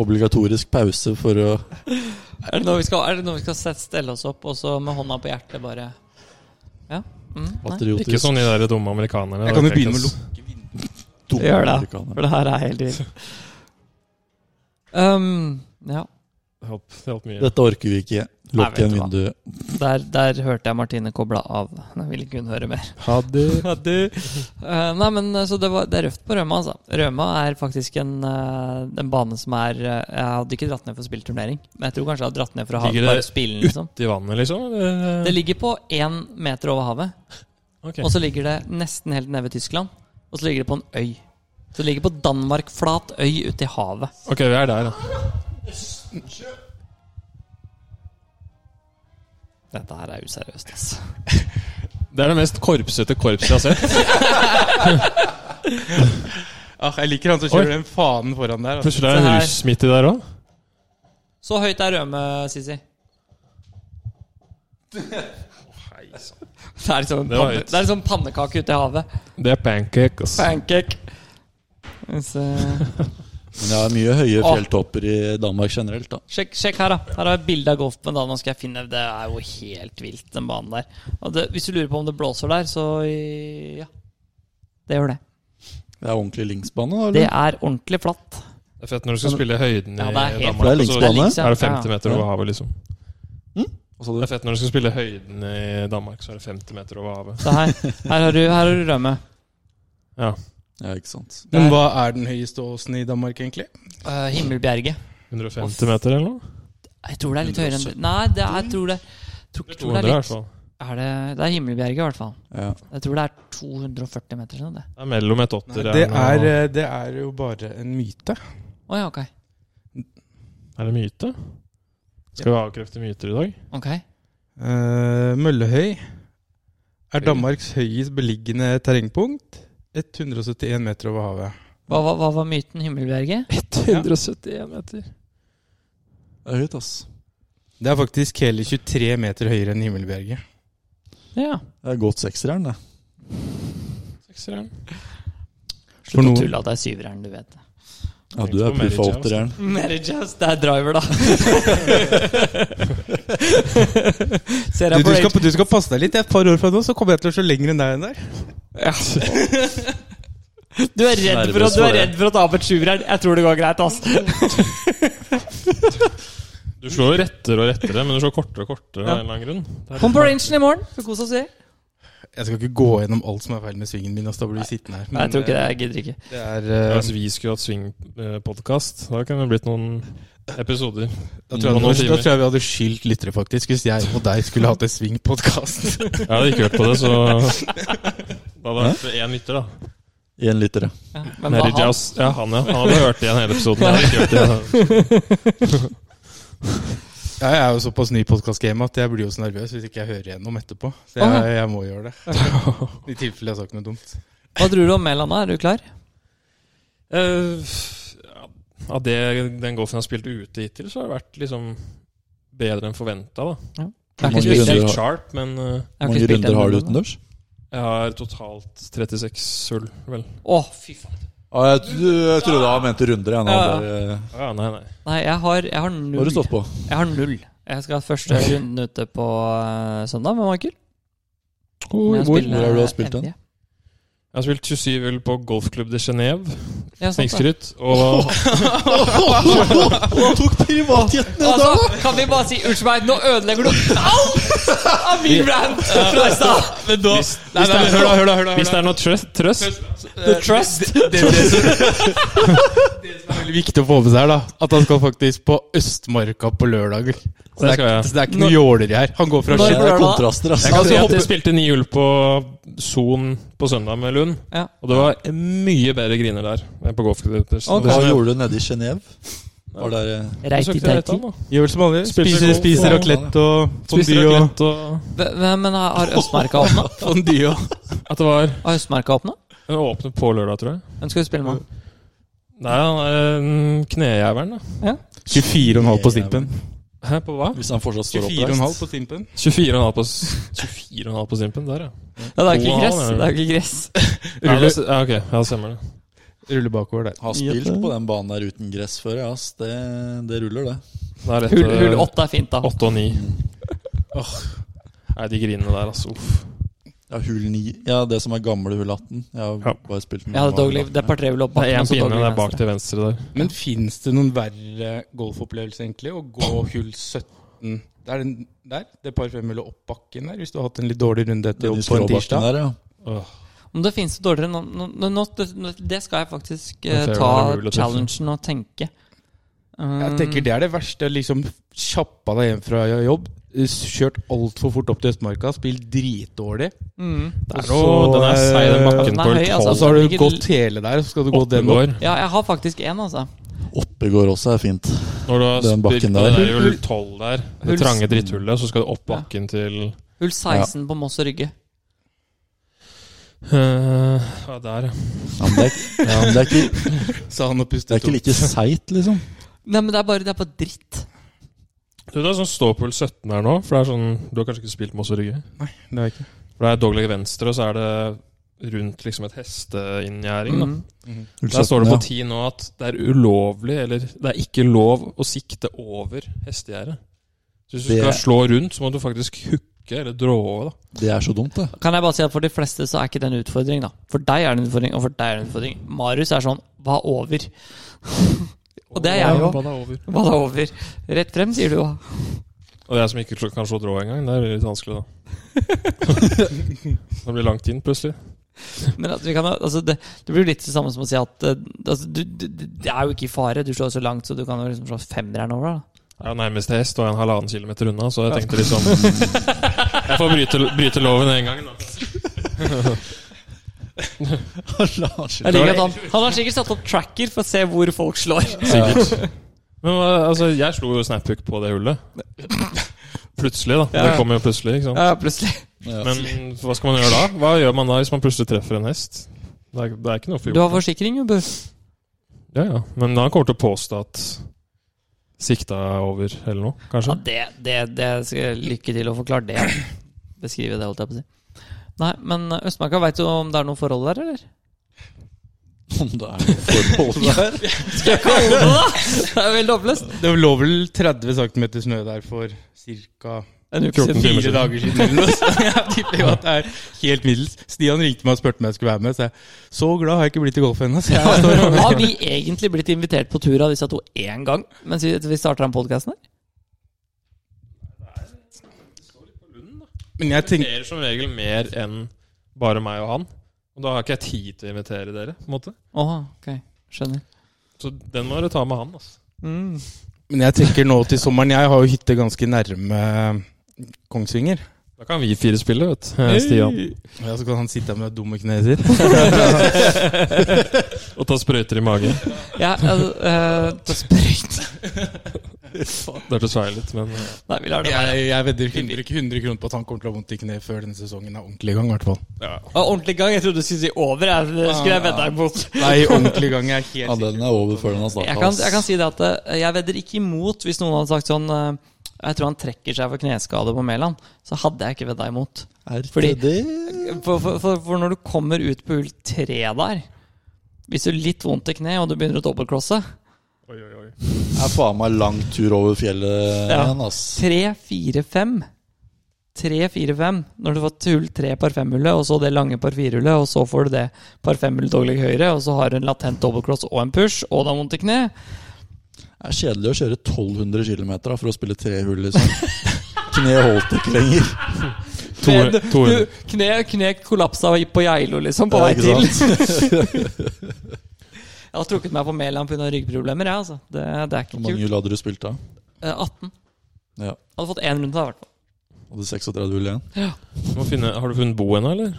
[SPEAKER 2] obligatorisk pause for å
[SPEAKER 1] Er det nå vi skal, er det nå vi skal sette, stelle oss opp og så med hånda på hjertet bare Ja? Mm, nei.
[SPEAKER 2] patriotisk
[SPEAKER 3] Ikke sånn de der dumme amerikanerne.
[SPEAKER 4] Jeg kan jo
[SPEAKER 3] da,
[SPEAKER 4] begynne med å
[SPEAKER 3] Texas.
[SPEAKER 4] lukke vinduet.
[SPEAKER 2] dumme
[SPEAKER 1] Gjør det.
[SPEAKER 2] amerikanere.
[SPEAKER 1] For det her er helt vilt. Um, ja.
[SPEAKER 3] Det hjalp- Det hjalp mye.
[SPEAKER 2] Dette orker vi ikke.
[SPEAKER 1] Nei, vet
[SPEAKER 2] Lukk igjen
[SPEAKER 1] du hva.
[SPEAKER 2] vinduet.
[SPEAKER 1] Der, der hørte jeg Martine kobla av. Jeg ville ikke hun høre mer.
[SPEAKER 2] Ha
[SPEAKER 3] (laughs)
[SPEAKER 2] det.
[SPEAKER 1] Ja, du. Eh, nei, men eh, så det, var, det er røft på Røma, altså. Røma er faktisk en, eh, en bane som er eh, Jeg hadde ikke dratt ned for å spille turnering, men jeg tror kanskje jeg hadde dratt ned for å ha,
[SPEAKER 3] Ligger det
[SPEAKER 1] bare spille, liksom.
[SPEAKER 3] Ut i vannet, liksom?
[SPEAKER 1] Det ligger på én meter over havet,
[SPEAKER 3] Ok.
[SPEAKER 1] og så ligger det nesten helt nede ved Tyskland. Og så ligger det på en øy. Så det ligger på Danmark-flat øy ute i havet.
[SPEAKER 3] ok, vi er der, da.
[SPEAKER 1] Dette her er useriøst, ass.
[SPEAKER 3] Det er det mest korpsete korpset jeg har sett.
[SPEAKER 4] Ah, jeg liker han som
[SPEAKER 3] Oi.
[SPEAKER 4] kjører den fanen foran der. Altså.
[SPEAKER 3] Plutselig er det
[SPEAKER 1] Se her.
[SPEAKER 3] en russ midt i der òg.
[SPEAKER 1] Så høyt er Røme,
[SPEAKER 3] (laughs)
[SPEAKER 1] Sisi. Det er liksom en
[SPEAKER 3] Det var
[SPEAKER 1] panne,
[SPEAKER 3] høyt.
[SPEAKER 1] det er liksom pannekake ute i havet.
[SPEAKER 3] Det er pancake, ass.
[SPEAKER 1] Pancake. Så,
[SPEAKER 3] eh,
[SPEAKER 2] Men jeg har mye høye
[SPEAKER 1] Åh.
[SPEAKER 2] fjelltopper i Danmark generelt, da.
[SPEAKER 1] (laughs) sjekk, sjekk her, da. Her har jeg bilde av golfbanen. da. Nå skal jeg finne Det er jo helt vilt, den banen der. Og det, hvis du lurer på om det blåser der, så ja. Det gjør det.
[SPEAKER 2] Det er ordentlig linksbane, da?
[SPEAKER 1] Det
[SPEAKER 2] Eller?
[SPEAKER 1] er ordentlig flatt.
[SPEAKER 3] Det er fett når du skal spille høyden i
[SPEAKER 1] Ja, det er helt
[SPEAKER 2] Det er
[SPEAKER 3] Danmark. og
[SPEAKER 2] linksbane.
[SPEAKER 3] Så er
[SPEAKER 1] Liksom.
[SPEAKER 3] det 50 meter over havet, liksom.
[SPEAKER 1] Hm?
[SPEAKER 2] Hva sa
[SPEAKER 3] Det
[SPEAKER 2] du?
[SPEAKER 3] er fett når du skal spille høyden i Danmark, så er det 50 meter over havet.
[SPEAKER 1] Så her, her, har du, her har du Rømme.
[SPEAKER 3] Ja,
[SPEAKER 2] Ja, ikke sant.
[SPEAKER 4] Men hva er den høyeste åsen i Danmark, egentlig?
[SPEAKER 1] Eh, Himmelbjerget.
[SPEAKER 3] 150 meter eller noe?
[SPEAKER 1] Jeg tror det er litt høyere enn Nei, det er, jeg tror det, tror, tror
[SPEAKER 3] 200
[SPEAKER 1] det
[SPEAKER 3] i
[SPEAKER 1] er
[SPEAKER 3] hvert
[SPEAKER 1] litt
[SPEAKER 3] fall.
[SPEAKER 1] er det, det er Himmelbjerget, i hvert fall.
[SPEAKER 2] Ja.
[SPEAKER 1] Jeg tror det er 240 meter. eller noe, det.
[SPEAKER 3] Det er mellom et åtter
[SPEAKER 4] det, er,
[SPEAKER 3] noe-
[SPEAKER 4] eh, det er jo bare en myte.
[SPEAKER 1] Å ja, ok.
[SPEAKER 3] Er det myte? Skal vi avkrefte myter i dag?
[SPEAKER 1] Ok.
[SPEAKER 4] Eh, Møllehøy er
[SPEAKER 3] Høy.
[SPEAKER 4] Danmarks høyest beliggende terrengpunkt. 171 meter over havet.
[SPEAKER 1] Hva, hva, hva var myten Himmelbjerget?
[SPEAKER 3] (laughs) 171 meter.
[SPEAKER 2] Det er høyt, ass.
[SPEAKER 4] Det er faktisk hele 23 meter høyere enn Himmelbjerget.
[SPEAKER 1] Ja.
[SPEAKER 2] Det er godt sekserjern, det.
[SPEAKER 3] Sekseren.
[SPEAKER 4] For
[SPEAKER 1] Slutt å
[SPEAKER 4] noe-
[SPEAKER 1] tulle at det er syveren, du (laughs) vet.
[SPEAKER 2] Ja, du er puffa åtterjern.
[SPEAKER 1] Mary Jazz, det er driver, (laughs) da. Ser jeg
[SPEAKER 4] Du, du,
[SPEAKER 1] på
[SPEAKER 4] skal,
[SPEAKER 1] Rage
[SPEAKER 4] du skal passe deg litt. Et par år fra nå så kommer jeg til å slå lenger enn deg enn der.
[SPEAKER 1] Du er redd for, å- du er redd for å ta opp et sjueren. Jeg tror det går greit, ass.
[SPEAKER 3] Du slår jo rettere og rettere, men du slår kortere og kortere av en eller annen grunn. Det er litt
[SPEAKER 1] Kom på rangen i morgen. Får kose oss i.
[SPEAKER 4] Jeg skal ikke gå gjennom alt som er feil med svingen min. Altså, da blir vi sittende her.
[SPEAKER 1] Nei, jeg tror ikke det. Jeg gidder ikke.
[SPEAKER 4] Det er,
[SPEAKER 3] Ja,
[SPEAKER 4] eh,
[SPEAKER 3] Hvis vi skulle hatt swing-podkast, da kan det blitt noen episoder.
[SPEAKER 4] da, tror jeg,
[SPEAKER 3] Noen
[SPEAKER 4] da,
[SPEAKER 3] timer.
[SPEAKER 4] tror jeg vi hadde skyldt lyttere, faktisk, hvis jeg og deg skulle hatt en
[SPEAKER 3] (laughs)
[SPEAKER 4] svingpodkast.
[SPEAKER 3] Jeg hadde ikke hørt på det, så (laughs) Da hadde det vært én lytter, da.
[SPEAKER 2] Én liter, ja.
[SPEAKER 1] Ja, men hva
[SPEAKER 3] Mary
[SPEAKER 1] han?
[SPEAKER 3] Jazz. Ja, han, ja. Han hadde hørt igjen hele episoden. Jeg hadde ikke hørt igjen.
[SPEAKER 4] jeg er jo såpass ny i podkastgamet at jeg blir jo så nervøs hvis ikke jeg hører gjennom etterpå. Så
[SPEAKER 1] Åh,
[SPEAKER 4] jeg,
[SPEAKER 1] ja.
[SPEAKER 4] jeg må
[SPEAKER 3] (laughs)
[SPEAKER 4] gjøre det. I tilfelle jeg har sagt noe dumt.
[SPEAKER 1] Hva tror du om Mæland, da? Er du klar?
[SPEAKER 3] (laughs) Eh, ja, Av det den golfen jeg har spilt ute hittil, så har det vært liksom bedre enn forventa,
[SPEAKER 1] Jeg
[SPEAKER 3] da.
[SPEAKER 1] har ikke
[SPEAKER 2] Mange
[SPEAKER 1] spilt
[SPEAKER 2] runder
[SPEAKER 1] den.
[SPEAKER 2] har-
[SPEAKER 3] Helt sharp, men
[SPEAKER 1] Jeg
[SPEAKER 3] eh,
[SPEAKER 1] har
[SPEAKER 2] Hvor mange
[SPEAKER 1] ikke spilt
[SPEAKER 2] runder
[SPEAKER 1] den
[SPEAKER 2] har du
[SPEAKER 1] runden.
[SPEAKER 2] utendørs?
[SPEAKER 3] jeg har totalt 36 hull, vel.
[SPEAKER 1] Å, fy faen.
[SPEAKER 2] Ah, jeg, jeg trodde han mente runder. Jeg, nå.
[SPEAKER 1] Ja.
[SPEAKER 2] Bare, eh,
[SPEAKER 3] Ja, nei, nei.
[SPEAKER 1] Nei, jeg har, jeg har
[SPEAKER 2] Nå har
[SPEAKER 1] null.
[SPEAKER 2] du stått på.
[SPEAKER 1] Jeg har null. Jeg skal ha første runden ute på eh, søndag med Michael.
[SPEAKER 2] Hvor,
[SPEAKER 1] Jeg
[SPEAKER 2] hvor,
[SPEAKER 1] spiller
[SPEAKER 2] hvor har du spilt den?
[SPEAKER 1] NDE.
[SPEAKER 3] Jeg har spilt 27 hull på golfklubb de Genève.
[SPEAKER 1] Ja, sant det.
[SPEAKER 3] Snikskryt. Og
[SPEAKER 2] Han tok privatjetten i dag!
[SPEAKER 1] Altså, kan vi bare si Unnskyld meg, nå ødelegger du Au! Av min rant fra i stad.
[SPEAKER 4] Men da
[SPEAKER 3] Hvis- hvis det er-
[SPEAKER 4] hør da, hør da.
[SPEAKER 3] hvis det er noe trøst, trøst eh,
[SPEAKER 1] The trust.
[SPEAKER 4] Det, det, det, som, (laughs) det som er veldig viktig å få med seg, her da at han skal faktisk på Østmarka på lørdag. Så det
[SPEAKER 3] Det
[SPEAKER 4] er,
[SPEAKER 3] skal jeg.
[SPEAKER 4] så det er ikke noe jåleri her. Han går fra
[SPEAKER 1] Når-
[SPEAKER 2] Det
[SPEAKER 4] Skien
[SPEAKER 2] er kontraster, altså.
[SPEAKER 3] Jeg kan
[SPEAKER 2] ass.
[SPEAKER 3] si at
[SPEAKER 1] hopper-
[SPEAKER 3] jeg spilte ni hull på Son på søndag med Lund.
[SPEAKER 1] Ja.
[SPEAKER 3] Og det var mye bedre griner der enn på golfklubbers.
[SPEAKER 1] Ok.
[SPEAKER 2] Hva gjorde du nede i Genéve? Var der eh,
[SPEAKER 1] Reiti-teiti.
[SPEAKER 4] Gjør som alle. Spiser,
[SPEAKER 3] Spiser golf
[SPEAKER 4] spiser
[SPEAKER 3] og-
[SPEAKER 4] raclette og
[SPEAKER 3] Spiser
[SPEAKER 4] fondue og
[SPEAKER 3] raclette og
[SPEAKER 1] Men har- har Østmarka åpna?
[SPEAKER 4] fondue. og-
[SPEAKER 3] At det var
[SPEAKER 1] Har Østmarka åpna?
[SPEAKER 3] Den åpnet på lørdag, tror jeg.
[SPEAKER 1] Hvem skal vi spille med?
[SPEAKER 3] Nei, han er en knejævelen, da.
[SPEAKER 4] 24,5 på Stimpen.
[SPEAKER 3] Hæ, på hva?
[SPEAKER 2] Hvis han fortsatt står
[SPEAKER 4] 24,5
[SPEAKER 2] oppreist?
[SPEAKER 4] på Stimpen.
[SPEAKER 3] 24,5 på, s- 24,5 på Simpen. Der, ja.
[SPEAKER 1] Ja, det er ikke
[SPEAKER 3] Wow,
[SPEAKER 1] gress.
[SPEAKER 3] det er-
[SPEAKER 1] Det er ikke gress.
[SPEAKER 3] Ja, det, s- ja, ok. Ja, det stemmer det.
[SPEAKER 4] Ruller bakover der.
[SPEAKER 2] Har spilt på den banen der uten gress før, ja. ass. Det, det ruller, det.
[SPEAKER 3] Det er lett,
[SPEAKER 1] Hull, hull
[SPEAKER 3] eh,
[SPEAKER 1] åtte er fint, da.
[SPEAKER 3] åtte og ni.
[SPEAKER 4] Åh.
[SPEAKER 3] Nei, de grinene der, altså. Uff.
[SPEAKER 2] Ja, hull 9. Ja, det som er gamle hull 18. Jeg har
[SPEAKER 3] Ja.
[SPEAKER 2] bare spilt den
[SPEAKER 1] Jeg hadde
[SPEAKER 2] gamle
[SPEAKER 1] dogleg,
[SPEAKER 2] hull
[SPEAKER 1] det er
[SPEAKER 2] 18, ja.
[SPEAKER 1] par tre hull opp
[SPEAKER 3] Det er
[SPEAKER 1] bakken,
[SPEAKER 3] én
[SPEAKER 1] og så altså.
[SPEAKER 3] pinne
[SPEAKER 1] dogleg
[SPEAKER 3] der bak
[SPEAKER 1] venstre.
[SPEAKER 3] til venstre der.
[SPEAKER 4] Men fins det noen verre golfopplevelse, egentlig? Å gå hull 17 Det er den der, det par fem eller opp bakken der, hvis du har hatt en litt dårlig runde etter
[SPEAKER 2] Den
[SPEAKER 4] jobb
[SPEAKER 2] i
[SPEAKER 4] på en
[SPEAKER 2] skråbakken
[SPEAKER 4] tirsdag?
[SPEAKER 2] Der, ja.
[SPEAKER 1] Om det finnes dårligere nå, nå, nå, nå- det, det skal jeg faktisk eh,
[SPEAKER 3] Det er jo umulig
[SPEAKER 1] ta
[SPEAKER 3] å treffe.
[SPEAKER 1] challengen og tenke. Um,
[SPEAKER 4] Jeg tenker det er det verste. Liksom kjappa deg hjem fra jobb, kjørt altfor fort opp til Østmarka, spilt dritdårlig.
[SPEAKER 1] mm.
[SPEAKER 3] Det
[SPEAKER 4] Og
[SPEAKER 3] er
[SPEAKER 4] så,
[SPEAKER 3] noe, den er seig, den bakken
[SPEAKER 1] Den er
[SPEAKER 3] på
[SPEAKER 1] høy,
[SPEAKER 3] en
[SPEAKER 1] altså.
[SPEAKER 4] Og
[SPEAKER 3] tolv.
[SPEAKER 4] så har du
[SPEAKER 1] Ikke-
[SPEAKER 4] gått hele der, og så skal du gå
[SPEAKER 3] Åtte
[SPEAKER 4] den opp.
[SPEAKER 3] går.
[SPEAKER 1] Ja, jeg har faktisk én, altså.
[SPEAKER 2] Oppegård også er fint.
[SPEAKER 3] Når du har
[SPEAKER 2] Den bakken
[SPEAKER 3] spyrt
[SPEAKER 2] der.
[SPEAKER 3] på det der hull tolv der, det
[SPEAKER 1] Hull-
[SPEAKER 3] trange dritthullet, så skal du opp bakken til
[SPEAKER 1] Hull 16 på Moss og Rygge.
[SPEAKER 3] Eh, Ja, der, ja.
[SPEAKER 2] Ja, men det, er, ja, men det, er ikke,
[SPEAKER 4] Sa han og
[SPEAKER 2] det
[SPEAKER 4] pustet
[SPEAKER 2] er ikke like seigt, liksom.
[SPEAKER 1] Nei, men det er bare det er bare dritt.
[SPEAKER 3] Du, det er sånn ståpull 17 her nå, for det er sånn Du har kanskje ikke spilt Moss og Rygge?
[SPEAKER 4] (laughs) Det er ikke.
[SPEAKER 3] For det er dogleg venstre, og så er det rundt liksom et hesteinngjerding, da.
[SPEAKER 1] Mm.
[SPEAKER 3] Der står det på
[SPEAKER 2] ja.
[SPEAKER 3] ti nå at det er ulovlig, eller det er ikke lov å sikte over hestegjerdet. Så hvis du
[SPEAKER 2] Det-
[SPEAKER 3] skal slå rundt, så må du faktisk hooke eller drå over, da.
[SPEAKER 2] Det er så dumt,
[SPEAKER 3] (laughs)
[SPEAKER 2] det.
[SPEAKER 1] Kan jeg bare si at For de fleste så er ikke det en utfordring. da For deg er det en utfordring, og for deg er det en utfordring. Marius er sånn hva over? Og det er jeg jo.
[SPEAKER 3] Hva da, over?
[SPEAKER 1] Hva da over? Rett frem, sier du. hva?
[SPEAKER 3] Og jeg som ikke sl- kan slå drå engang, det er litt
[SPEAKER 1] (laughs)
[SPEAKER 3] vanskelig, da. det blir langt inn, plutselig.
[SPEAKER 1] (laughs) Men at vi kan, altså det, det blir jo litt det samme som å si at eh, altså, du, du, du- det er jo ikke i fare. Du slår så langt, så du kan jo liksom slå femmeren over. da
[SPEAKER 3] Jeg er jo nærmeste hest og jeg er en halvannen kilometer unna, så jeg tenkte liksom
[SPEAKER 1] (laughs)
[SPEAKER 3] Jeg får bryte, bryte loven en gang, da.
[SPEAKER 1] Jeg liker at han, (laughs) han har sikkert satt opp tracker for å se hvor folk slår.
[SPEAKER 3] Men hva- altså, jeg slo jo snaphook på det hullet. Plutselig, da.
[SPEAKER 1] Ja.
[SPEAKER 3] Det kommer jo plutselig, ikke sant.
[SPEAKER 1] Ja, plutselig
[SPEAKER 2] Ja.
[SPEAKER 3] Men hva skal man gjøre da? Hva gjør man da hvis man plutselig treffer en hest? Det er, det er ikke noe for
[SPEAKER 1] Du har
[SPEAKER 3] gjort.
[SPEAKER 1] forsikring, jo, Bu.
[SPEAKER 3] Ja, ja. Men han kommer til å påstå at sikta er over, eller noe,
[SPEAKER 1] Ja,
[SPEAKER 3] kanskje?
[SPEAKER 1] det, det, det skal jeg lykke til å forklare det. (clears throat) Beskrive det, holdt jeg på å si. Nei, men eh, Østmarka, veit du om det er noe forhold der, eller?
[SPEAKER 2] (laughs) Om det er noe
[SPEAKER 3] (laughs)
[SPEAKER 2] forhold der.
[SPEAKER 1] Skal jeg kalle det da? Det er veldig oppløst.
[SPEAKER 4] Det lå vel 30 cm snø der for ca.
[SPEAKER 1] En uke
[SPEAKER 3] 14
[SPEAKER 1] siden.
[SPEAKER 4] fire
[SPEAKER 3] timer siden.
[SPEAKER 4] dager siden. Eller noe. Så jeg tipper jo at det er helt middels. Stian ringte meg og spurte om jeg skulle være med. Så jeg så glad har jeg ikke blitt i golf ennå. Så jeg står (laughs)
[SPEAKER 1] (laughs)
[SPEAKER 4] og
[SPEAKER 1] Har vi egentlig blitt invitert på tur av disse to én gang mens vi, vi starter den podkasten her?
[SPEAKER 4] Men jeg
[SPEAKER 3] Det
[SPEAKER 4] tenker
[SPEAKER 3] inviterer som regel mer enn bare meg og han. Og da har ikke jeg tid til å invitere dere, på en måte.
[SPEAKER 1] Åh, ok. Skjønner.
[SPEAKER 3] Så den må dere ta med han, altså.
[SPEAKER 1] Mm.
[SPEAKER 4] Men jeg tenker nå til sommeren Jeg har jo hytte ganske nærme Kongsvinger.
[SPEAKER 3] Da kan vi fire spille, vet du. eh, Stian.
[SPEAKER 4] Ja, Så kan han sitte her med det dumme kneet sitt.
[SPEAKER 3] Og ta sprøyter i magen.
[SPEAKER 1] Ja, altså, eh, det er sprøyt.
[SPEAKER 3] Det er til å sveie litt, men eh,
[SPEAKER 1] (laughs) Nei, vi lar det være.
[SPEAKER 4] Jeg, jeg vedder 100, 100 kroner på at han kommer til å ha vondt i kneet før denne sesongen er ordentlig i gang. i hvert fall
[SPEAKER 3] ja.
[SPEAKER 1] Å, Ordentlig gang. Jeg trodde du skulle si over. Jeg, det skulle jeg vedda imot.
[SPEAKER 4] Nei, ordentlig i gang. Jeg er helt
[SPEAKER 2] Ja, den er over før den altså. har starta.
[SPEAKER 1] Jeg kan, jeg kan si det at eh, jeg vedder ikke imot hvis noen hadde sagt sånn eh, Jeg tror han trekker seg for kneskade på Mæland. Så hadde jeg ikke vedda imot. fordi- For, for, for, for når du kommer ut på hull tre der Hvis du har litt vondt i kneet og du begynner å dobbeltklosse
[SPEAKER 3] Oi, oi, oi.
[SPEAKER 2] Det er faen meg lang tur over fjellet
[SPEAKER 1] Ja.
[SPEAKER 2] igjen, ass.
[SPEAKER 1] Tre, fire, fem. Tre, fire, fem. Når du får til hull tre par femhullet, og så det lange par firehullet, og så får du det par femhullet dogleg høyre, og så har du en latent dobbeltkloss og en push, og det er vondt i kneet.
[SPEAKER 2] Det er kjedelig å kjøre 1200 km for å spille tre hull, liksom. (laughs) Kneet holdt ikke lenger.
[SPEAKER 3] To-
[SPEAKER 1] Men du-
[SPEAKER 3] 200.
[SPEAKER 1] du- Kne, kne kollapsa på Geilo, liksom, på
[SPEAKER 2] Ja,
[SPEAKER 1] vei
[SPEAKER 2] ikke
[SPEAKER 1] til.
[SPEAKER 2] sant?
[SPEAKER 1] (laughs) Jeg har trukket meg på Mæland pga. ryggproblemer. Ja, altså. det, det er ikke
[SPEAKER 2] Hvor mange
[SPEAKER 1] kult.
[SPEAKER 2] hull hadde du spilt da?
[SPEAKER 1] Eh, 18.
[SPEAKER 2] Ja.
[SPEAKER 1] Hadde fått én runde, da. i hvert fall.
[SPEAKER 2] Hadde 36 hull igjen?
[SPEAKER 3] Du må finne, har du funnet bo ennå, eller?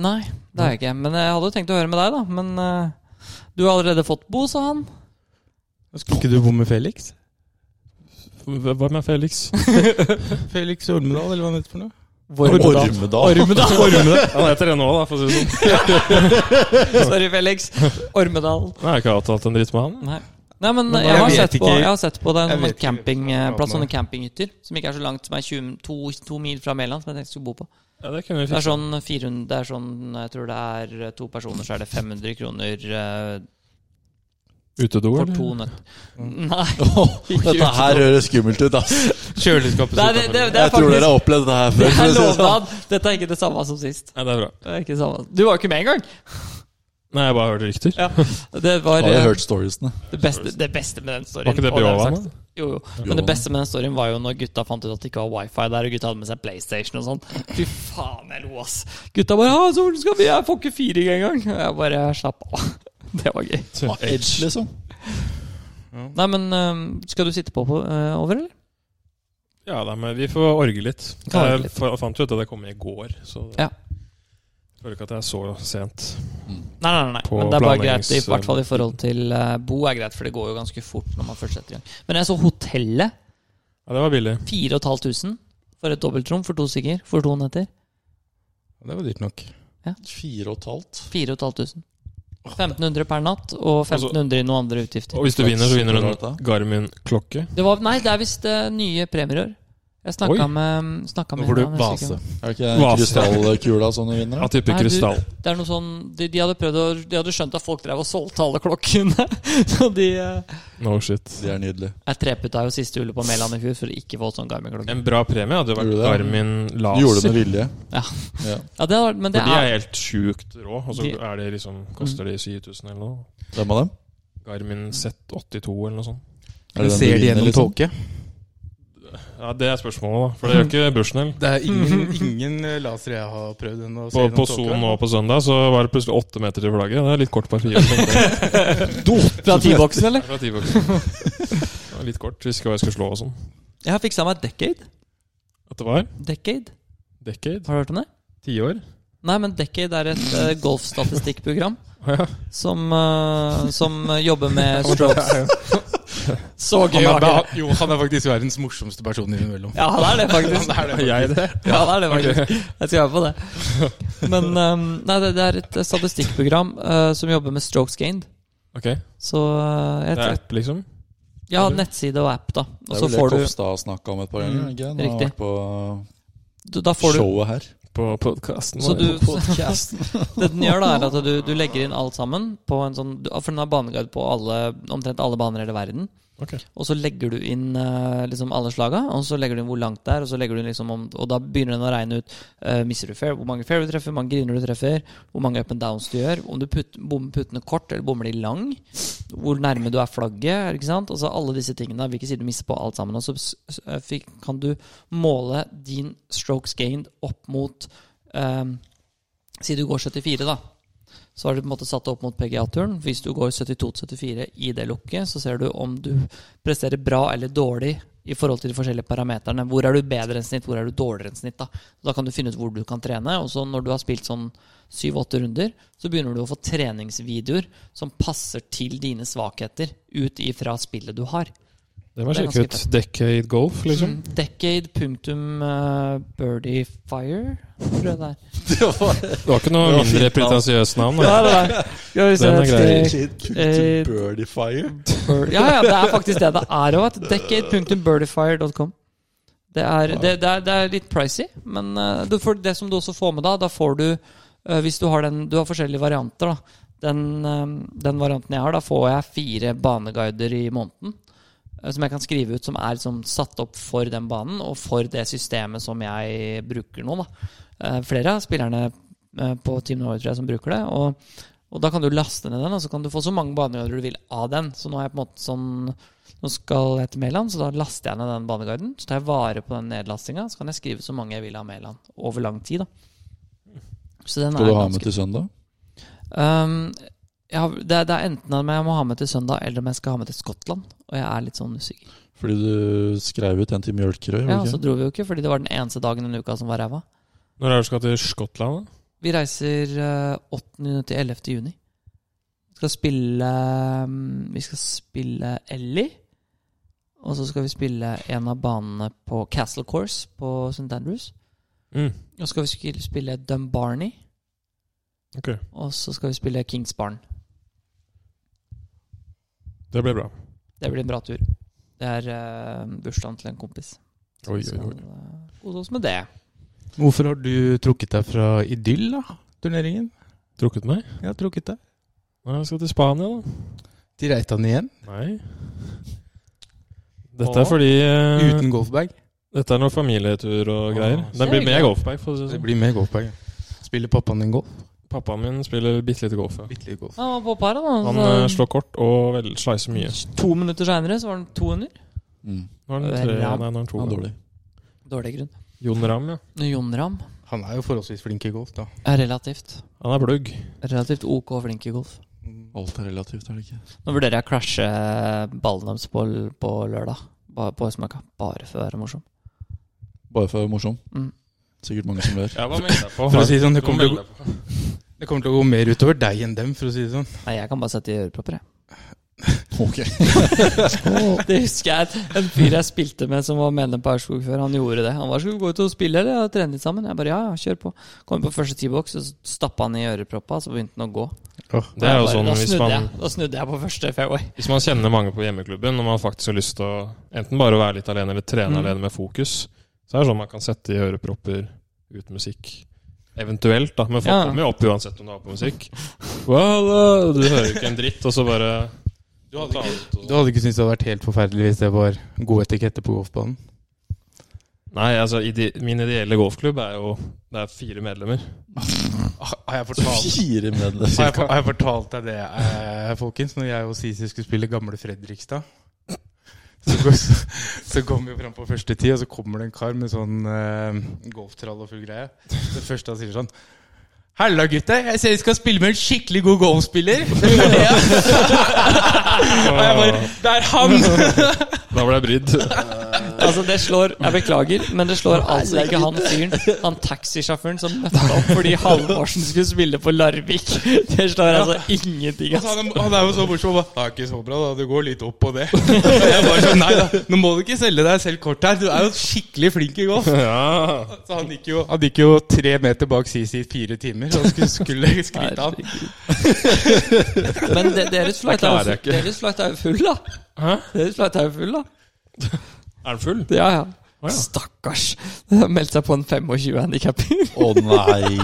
[SPEAKER 1] Nei, det har jeg ikke. Men jeg hadde jo tenkt å høre med deg, da. Men eh, du har allerede fått bo, sa
[SPEAKER 4] (laughs)
[SPEAKER 1] han.
[SPEAKER 4] Skulle ikke du bo med Felix?
[SPEAKER 3] Hva med Felix?
[SPEAKER 4] Felix Ormedal, eller hva han heter for noe?
[SPEAKER 2] (laughs) Ormedal.
[SPEAKER 1] Ormedal.
[SPEAKER 3] Han heter det nå, da, for å si det sånn.
[SPEAKER 1] Sorry, Felix. Ormedal.
[SPEAKER 3] Nei, jeg har ikke avtalt en dritt med han.
[SPEAKER 1] Nei. Nei, men
[SPEAKER 4] Men
[SPEAKER 1] jeg har,
[SPEAKER 4] jeg vet
[SPEAKER 1] sett på,
[SPEAKER 4] ikke-
[SPEAKER 1] jeg har sett på det en
[SPEAKER 4] jeg vet
[SPEAKER 1] sånn
[SPEAKER 4] ikke hvem som har
[SPEAKER 1] campingplass,
[SPEAKER 4] pratet med
[SPEAKER 1] sånne campinghytter, som ikke er så langt, som er 20, to, to mil fra Mæland, som jeg tenkte jeg skulle bo på.
[SPEAKER 3] Ja, det kunne vi
[SPEAKER 1] Det er
[SPEAKER 3] fikse.
[SPEAKER 1] sånn 400 det er sånn, Jeg tror det er to personer, så er det 500 kroner eh,
[SPEAKER 3] Utedo,
[SPEAKER 1] for
[SPEAKER 3] eller?
[SPEAKER 1] to nøtter.
[SPEAKER 2] (laughs)
[SPEAKER 1] Nei,
[SPEAKER 2] Dette her høres skummelt ut, ass.
[SPEAKER 4] Kjøleskapet
[SPEAKER 1] Nei, det, det, det er
[SPEAKER 2] Jeg tror dere
[SPEAKER 1] faktisk
[SPEAKER 2] har opplevd det her
[SPEAKER 1] (laughs) Det
[SPEAKER 2] før.
[SPEAKER 1] er
[SPEAKER 2] for å si det sånn.
[SPEAKER 1] lovnad! Dette er ikke det samme som sist.
[SPEAKER 3] Nei, det er bra.
[SPEAKER 1] Det er ikke det samme. Du var jo ikke med engang!
[SPEAKER 3] Nei, jeg bare hørte rykter.
[SPEAKER 1] Ja. Det var
[SPEAKER 2] Har
[SPEAKER 1] eh,
[SPEAKER 2] jeg hørt storiesene?
[SPEAKER 1] det beste, det beste med den storyen.
[SPEAKER 3] Var ikke det
[SPEAKER 1] og har
[SPEAKER 3] Bjova?
[SPEAKER 1] jeg sagt. Jo, jo. Men det
[SPEAKER 2] Bjova.
[SPEAKER 1] beste med den storyen var jo når gutta fant ut at det ikke var wifi der, og gutta hadde med seg PlayStation og sånn. Fy faen, jeg lo, ass. Gutta bare Ja, så hvordan skal vi Jeg får ikke 4G engang. Og Jeg bare slapp av. (laughs) Det var gøy.
[SPEAKER 3] da?
[SPEAKER 2] Edge, liksom.
[SPEAKER 1] Nei, men øhm, skal du sitte på, på øh, over, eller?
[SPEAKER 3] Ja, da, men vi får orge litt.
[SPEAKER 1] Kan orge
[SPEAKER 3] Jeg
[SPEAKER 1] litt.
[SPEAKER 3] fa- fant jo ut at jeg kom i går, så det-
[SPEAKER 1] Ja.
[SPEAKER 3] jeg føler ikke at jeg er så sent.
[SPEAKER 2] Mm.
[SPEAKER 1] Nei, nei, nei. nei.
[SPEAKER 3] På
[SPEAKER 1] Men det er bare greit, i
[SPEAKER 3] planleggings-
[SPEAKER 1] hvert fall i forhold til øh, Bo er greit, for det går jo ganske fort når man først setter i gang. Men jeg så hotellet.
[SPEAKER 3] Ja, det var billig.
[SPEAKER 1] 4500 for et dobbeltrom for to stykker. For to netter.
[SPEAKER 4] Det var dyrt nok.
[SPEAKER 2] Fire og et halvt.
[SPEAKER 1] 4500. 1500 per natt og 1500 i noen andre utgifter.
[SPEAKER 3] Og hvis du
[SPEAKER 2] Det er
[SPEAKER 3] vinner, så vinner du
[SPEAKER 2] superbra,
[SPEAKER 3] en
[SPEAKER 2] dette.
[SPEAKER 3] Garmin-klokke.
[SPEAKER 1] Det var, nei, det er visst eh, nye premier i år. Jeg
[SPEAKER 3] Oi.
[SPEAKER 1] snakka med, snakka
[SPEAKER 4] Nå
[SPEAKER 1] med
[SPEAKER 4] får du
[SPEAKER 1] han, jeg husker
[SPEAKER 4] vase.
[SPEAKER 1] ikke
[SPEAKER 2] Er det ikke
[SPEAKER 3] Hva?
[SPEAKER 2] krystallkula som du vinner?
[SPEAKER 3] Ja, type
[SPEAKER 1] Nei, du-
[SPEAKER 3] krystall.
[SPEAKER 1] hvem. Det er noe sånn, de, de hadde prøvd å, de hadde skjønt at folk drev og solgte alle klokkene. (laughs) Så de eh,
[SPEAKER 3] No shit.
[SPEAKER 2] Det er nydelig.
[SPEAKER 1] Jeg trepet av jo siste hullet på Mæland i fjor for å ikke få sånn Garmin-klokke.
[SPEAKER 3] En bra premie hadde jo vært
[SPEAKER 2] Gjorde du det?
[SPEAKER 3] Garmin
[SPEAKER 2] Du gjorde det
[SPEAKER 3] Laser.
[SPEAKER 2] med vilje.
[SPEAKER 1] Ja.
[SPEAKER 2] Ja.
[SPEAKER 1] Ja, det har, men
[SPEAKER 3] For
[SPEAKER 1] det
[SPEAKER 3] de er
[SPEAKER 1] er,
[SPEAKER 3] helt sjukt rå, og så
[SPEAKER 1] De- Mm.
[SPEAKER 3] er det liksom, koster de 7000 eller noe.
[SPEAKER 2] Hvem av dem?
[SPEAKER 3] Garmin Z82 eller noe sånt.
[SPEAKER 2] Er det den
[SPEAKER 4] ser
[SPEAKER 2] du
[SPEAKER 4] de
[SPEAKER 2] vinner,
[SPEAKER 4] gjennom
[SPEAKER 2] liksom?
[SPEAKER 4] tåke?
[SPEAKER 3] Ja, Det er spørsmålet, da. For det gjør ikke Bushnell.
[SPEAKER 4] Det er ingen, ingen eh, laser jeg har prøvd ennå. å se
[SPEAKER 3] På,
[SPEAKER 4] gjennom
[SPEAKER 3] på
[SPEAKER 4] tåke.
[SPEAKER 3] Son nå på søndag så var det plutselig åtte meter til flagget. Det er litt kort papir. (laughs) tenkte jeg.
[SPEAKER 1] fra
[SPEAKER 2] (laughs)
[SPEAKER 1] T-boksen, eller?
[SPEAKER 3] Det er fra T-boksen. Det var Litt kort. Visste ikke hva jeg skulle slå og sånn.
[SPEAKER 1] Jeg har fiksa meg Decade.
[SPEAKER 3] At det var
[SPEAKER 1] Decade.
[SPEAKER 3] decade?
[SPEAKER 1] Har du hørt om det?
[SPEAKER 3] Tiår?
[SPEAKER 1] Nei, men Decade er et eh, golfstatistikkprogram
[SPEAKER 3] Å ja.
[SPEAKER 1] som, eh, som eh, jobber med strokes. Så gøy!
[SPEAKER 4] Han
[SPEAKER 1] var
[SPEAKER 4] er,
[SPEAKER 1] ikke det.
[SPEAKER 4] ba- jo, han er faktisk verdens morsomste person innimellom.
[SPEAKER 1] Ja, det er det, faktisk.
[SPEAKER 3] Er jeg det?
[SPEAKER 1] Ja, det er det faktisk. Jeg skal være på det. Men um, nei, det, det er et eh, statistikkprogram eh, som jobber med strokes gained.
[SPEAKER 3] Ok. Det
[SPEAKER 1] Så eh, jeg
[SPEAKER 3] er
[SPEAKER 1] tror,
[SPEAKER 3] app, liksom?
[SPEAKER 1] Ja, nettside og app, da.
[SPEAKER 2] Det
[SPEAKER 1] Og
[SPEAKER 2] er
[SPEAKER 1] så
[SPEAKER 2] vel det
[SPEAKER 1] får du,
[SPEAKER 2] Kopstad har snakka om et par ganger.
[SPEAKER 1] Mm,
[SPEAKER 2] ikke? Han har
[SPEAKER 1] riktig.
[SPEAKER 2] vært på
[SPEAKER 1] du Da får du
[SPEAKER 2] showet her.
[SPEAKER 3] På podkasten?
[SPEAKER 1] Så du
[SPEAKER 2] (laughs)
[SPEAKER 1] Det den gjør, da, er at du, du legger inn alt sammen på en sånn du- For den har baneguide på alle, omtrent alle baner i hele verden.
[SPEAKER 3] Ok.
[SPEAKER 1] Og så legger du inn eh, liksom alle slaga, og så legger du inn hvor langt det er, og så legger du inn liksom om, Og da begynner den å regne ut eh, misser du fair, hvor mange fair du treffer, hvor mange griner du treffer, hvor mange up and downs du gjør, om du putt, bommer puttene kort eller bommer de lang, hvor nærme du er flagget, ikke sant? Altså alle disse tingene, hvilken side du mister på, alt sammen. Og så s- s- eh, fikk, kan du måle din strokes gained opp mot eh, Si du går 74, da. Så har du på en måte satt det opp mot PGA-turen. Hvis du går 72-74 i det lukket, så ser du om du presterer bra eller dårlig i forhold til de forskjellige parameterne. Hvor er du bedre enn snitt, hvor er du dårligere enn snitt? Da Da kan du finne ut hvor du kan trene. Og så når du har spilt sånn syv-åtte runder, så begynner du å få treningsvideoer som passer til dine svakheter ut ifra spillet du har.
[SPEAKER 3] Det må
[SPEAKER 1] Det er
[SPEAKER 3] jeg sjekke ut.
[SPEAKER 1] ganske
[SPEAKER 3] Decade Golf, liksom?
[SPEAKER 1] Mm, Decade punktum eh, birdie fire, tror jeg det er.
[SPEAKER 3] Det var
[SPEAKER 2] Det
[SPEAKER 3] ikke noe
[SPEAKER 2] var
[SPEAKER 3] mindre
[SPEAKER 2] fint, da.
[SPEAKER 3] pretensiøst navn?
[SPEAKER 1] Ja,
[SPEAKER 3] da.
[SPEAKER 1] det er. Skal vi se.
[SPEAKER 3] Den er grei.
[SPEAKER 1] (laughs) Eh,
[SPEAKER 2] Birdiefire.
[SPEAKER 1] Ja, ja, det er faktisk det det er òg. Decade.birdifier.com. Det er, det, det, er, det er litt pricy, men eh, du får, det som du også får med da, da får du eh, Hvis du har den Du har forskjellige varianter, da. Den, eh, den varianten jeg har, da får jeg fire baneguider i måneden. eh, Som jeg kan skrive ut, som er liksom satt opp for den banen og for det systemet som jeg bruker nå. Da. Eh, Flere av spillerne eh, på Team Norway tror jeg, som bruker det. Og og da kan du laste ned den, og så kan du få så mange baneguider du vil av den. Så nå er jeg på en måte sånn Nå skal jeg til Mæland, så da laster jeg ned den baneguiden. Så tar jeg vare på den nedlastinga, så kan jeg skrive så mange jeg vil av Mæland. Over lang tid, da. Så den
[SPEAKER 2] Skal
[SPEAKER 1] er
[SPEAKER 2] du ha med
[SPEAKER 1] ganske-
[SPEAKER 2] til søndag?
[SPEAKER 1] Um, jeg har, det, er- det er enten om jeg må ha med til søndag, eller om jeg skal ha med til Skottland. Og jeg er litt sånn usikker.
[SPEAKER 2] Fordi du skrev ut en til Mjølkerøy?
[SPEAKER 1] Ja, altså.
[SPEAKER 2] Ja,
[SPEAKER 1] og så dro vi jo ikke, fordi det var den eneste dagen denne uka som var ræva.
[SPEAKER 3] Når er det du skal til Skottland? da?
[SPEAKER 1] Vi reiser eh, 8. til 11. juni. Vi skal spille mm, Vi skal spille Ellie. Og så skal vi spille en av banene på Castle Course på St. Andrews.
[SPEAKER 3] Mm.
[SPEAKER 1] Og så skal vi skil- spille Dumbarney.
[SPEAKER 3] Ok.
[SPEAKER 1] Og så skal vi spille Kings Barn.
[SPEAKER 3] Det blir bra.
[SPEAKER 1] Det blir en bra tur. Det er eh, bursdagen til en kompis.
[SPEAKER 3] Oi,
[SPEAKER 1] Så
[SPEAKER 3] oi, oi.
[SPEAKER 1] eh, kose oss med det.
[SPEAKER 4] Hvorfor har du trukket deg fra idyll, da? Turneringen?
[SPEAKER 3] Trukket meg?
[SPEAKER 4] Ja, trukket deg.
[SPEAKER 3] Nei, jeg skal til Spania, da.
[SPEAKER 4] Til Reitan igjen,
[SPEAKER 3] Nei. Dette er
[SPEAKER 1] Å.
[SPEAKER 3] fordi eh,
[SPEAKER 4] uten golfbag.
[SPEAKER 3] Dette er noe familietur og
[SPEAKER 4] Å,
[SPEAKER 3] greier.
[SPEAKER 4] så
[SPEAKER 3] Den blir med
[SPEAKER 1] hyggelig.
[SPEAKER 3] golfbag. For å si det
[SPEAKER 4] Det
[SPEAKER 3] sånn.
[SPEAKER 4] blir mer golfbag. ja. Spiller pappaen din golf?
[SPEAKER 3] Pappaen min spiller bitte lite golf. Ja.
[SPEAKER 4] Bitte litt golf.
[SPEAKER 1] Han var på paret, da.
[SPEAKER 3] Han
[SPEAKER 1] så-
[SPEAKER 3] eh, slår kort og vel, slicer mye.
[SPEAKER 1] To minutter seinere så var han 200.
[SPEAKER 2] Mm.
[SPEAKER 3] Nå er
[SPEAKER 1] Det
[SPEAKER 3] han
[SPEAKER 1] er
[SPEAKER 3] tre,
[SPEAKER 1] Ram.
[SPEAKER 3] nei, nå er han to.
[SPEAKER 2] Ja,
[SPEAKER 3] da.
[SPEAKER 2] dårlig.
[SPEAKER 1] Dårlig grunn.
[SPEAKER 3] Jon Ram, ja.
[SPEAKER 1] Jon Ram
[SPEAKER 4] Han er jo forholdsvis flink i golf, da.
[SPEAKER 1] er relativt
[SPEAKER 3] Han er blugg.
[SPEAKER 1] Relativt ok flink i golf.
[SPEAKER 2] Alt er relativt, er det ikke?
[SPEAKER 1] Nå vurderer jeg å crashe ballen deres på, på lørdag. Bare på Østmarka. Bare for å være morsom.
[SPEAKER 2] Bare for å være morsom.
[SPEAKER 1] Mm.
[SPEAKER 2] Sikkert mange som ler.
[SPEAKER 3] Ja, hva melder jeg på?
[SPEAKER 4] For å si det sånn, det
[SPEAKER 3] Hva
[SPEAKER 4] kommer til
[SPEAKER 3] melder
[SPEAKER 4] å,
[SPEAKER 3] jeg på?
[SPEAKER 4] det kommer til å gå mer utover deg enn dem, for å si det sånn.
[SPEAKER 1] Nei, jeg kan bare sette i ørepropper, jeg.
[SPEAKER 2] (laughs) Ok.
[SPEAKER 1] (laughs) Det husker jeg. En fyr jeg spilte med som var medlem på Aurskog før, han gjorde det. Han var skal vi gå ut og spille eller og trene litt sammen? Jeg bare ja, ja, kjør på. Kom på første T-boks, og stappa han i øreproppa, så begynte han å gå.
[SPEAKER 3] Det er
[SPEAKER 1] Jeg
[SPEAKER 3] jo
[SPEAKER 1] bare,
[SPEAKER 3] sånn
[SPEAKER 1] da,
[SPEAKER 3] hvis
[SPEAKER 1] snudde
[SPEAKER 3] man,
[SPEAKER 1] jeg, da snudde jeg på første fairway.
[SPEAKER 3] hvis man kjenner mange på hjemmeklubben, og man faktisk har lyst til å enten bare være litt alene eller trene
[SPEAKER 1] Mm.
[SPEAKER 3] alene med fokus, så er det sånn man kan sette i ørepropper uten musikk. Eventuelt, da. Men folk
[SPEAKER 1] Ja.
[SPEAKER 3] kommer jo opp uansett om du har på musikk. Well, uh, du hører jo ikke en dritt, og så bare
[SPEAKER 4] Du hadde
[SPEAKER 3] Ta
[SPEAKER 4] ikke,
[SPEAKER 3] ut og-
[SPEAKER 4] du hadde ikke syntes det hadde vært helt forferdelig hvis det var god etikette på golfbanen?
[SPEAKER 3] Nei, altså ide min ideelle golfklubb er jo Det er fire medlemmer.
[SPEAKER 4] Ah, Har jeg (laughs)
[SPEAKER 2] Fire medlemmer.
[SPEAKER 4] Har jeg, har jeg fortalt deg det, eh, folkens? Når jeg og Sisi skulle spille gamle Fredrikstad, så, går, så, så kommer vi fram på første tid, og så kommer det en kar med sånn eh, golftrall og full greie. Det første han sier sånn Halla, gutter. Jeg ser dere skal spille med en skikkelig god golfspiller. Hvem er det? Og jeg bare Det er han!
[SPEAKER 3] Da ble jeg brydd.
[SPEAKER 1] Altså, det slår Jeg beklager, men det slår altså ikke han fyren. Han taxisjåføren som møtte opp fordi Halvorsen skulle spille på Larvik. Det slår altså ingenting,
[SPEAKER 4] Og så
[SPEAKER 1] altså.
[SPEAKER 4] Han han er jo så morsom. og bare, Det er ikke så bra, da. Det går litt opp på det. (laughs) Og jeg bare sånn, nei da, Nå må du ikke selge deg selv kort her. Du er jo skikkelig flink i golf.
[SPEAKER 3] Ja.
[SPEAKER 4] Så han gikk jo, han gikk jo tre meter bak Sisi i fire timer. Så han skulle, skulle skryte av han.
[SPEAKER 1] Herregud. Men de- deres flight er
[SPEAKER 3] klarer
[SPEAKER 1] jo full-
[SPEAKER 3] jeg ikke.
[SPEAKER 1] deres flight er jo full, da.
[SPEAKER 3] Hæ?
[SPEAKER 1] Deres flight er jo full, da.
[SPEAKER 3] Er den full?
[SPEAKER 1] Ja, ja.
[SPEAKER 3] Å, ja.
[SPEAKER 1] Stakkars. Det har meldt seg på en 25-handikapping.
[SPEAKER 2] Å nei!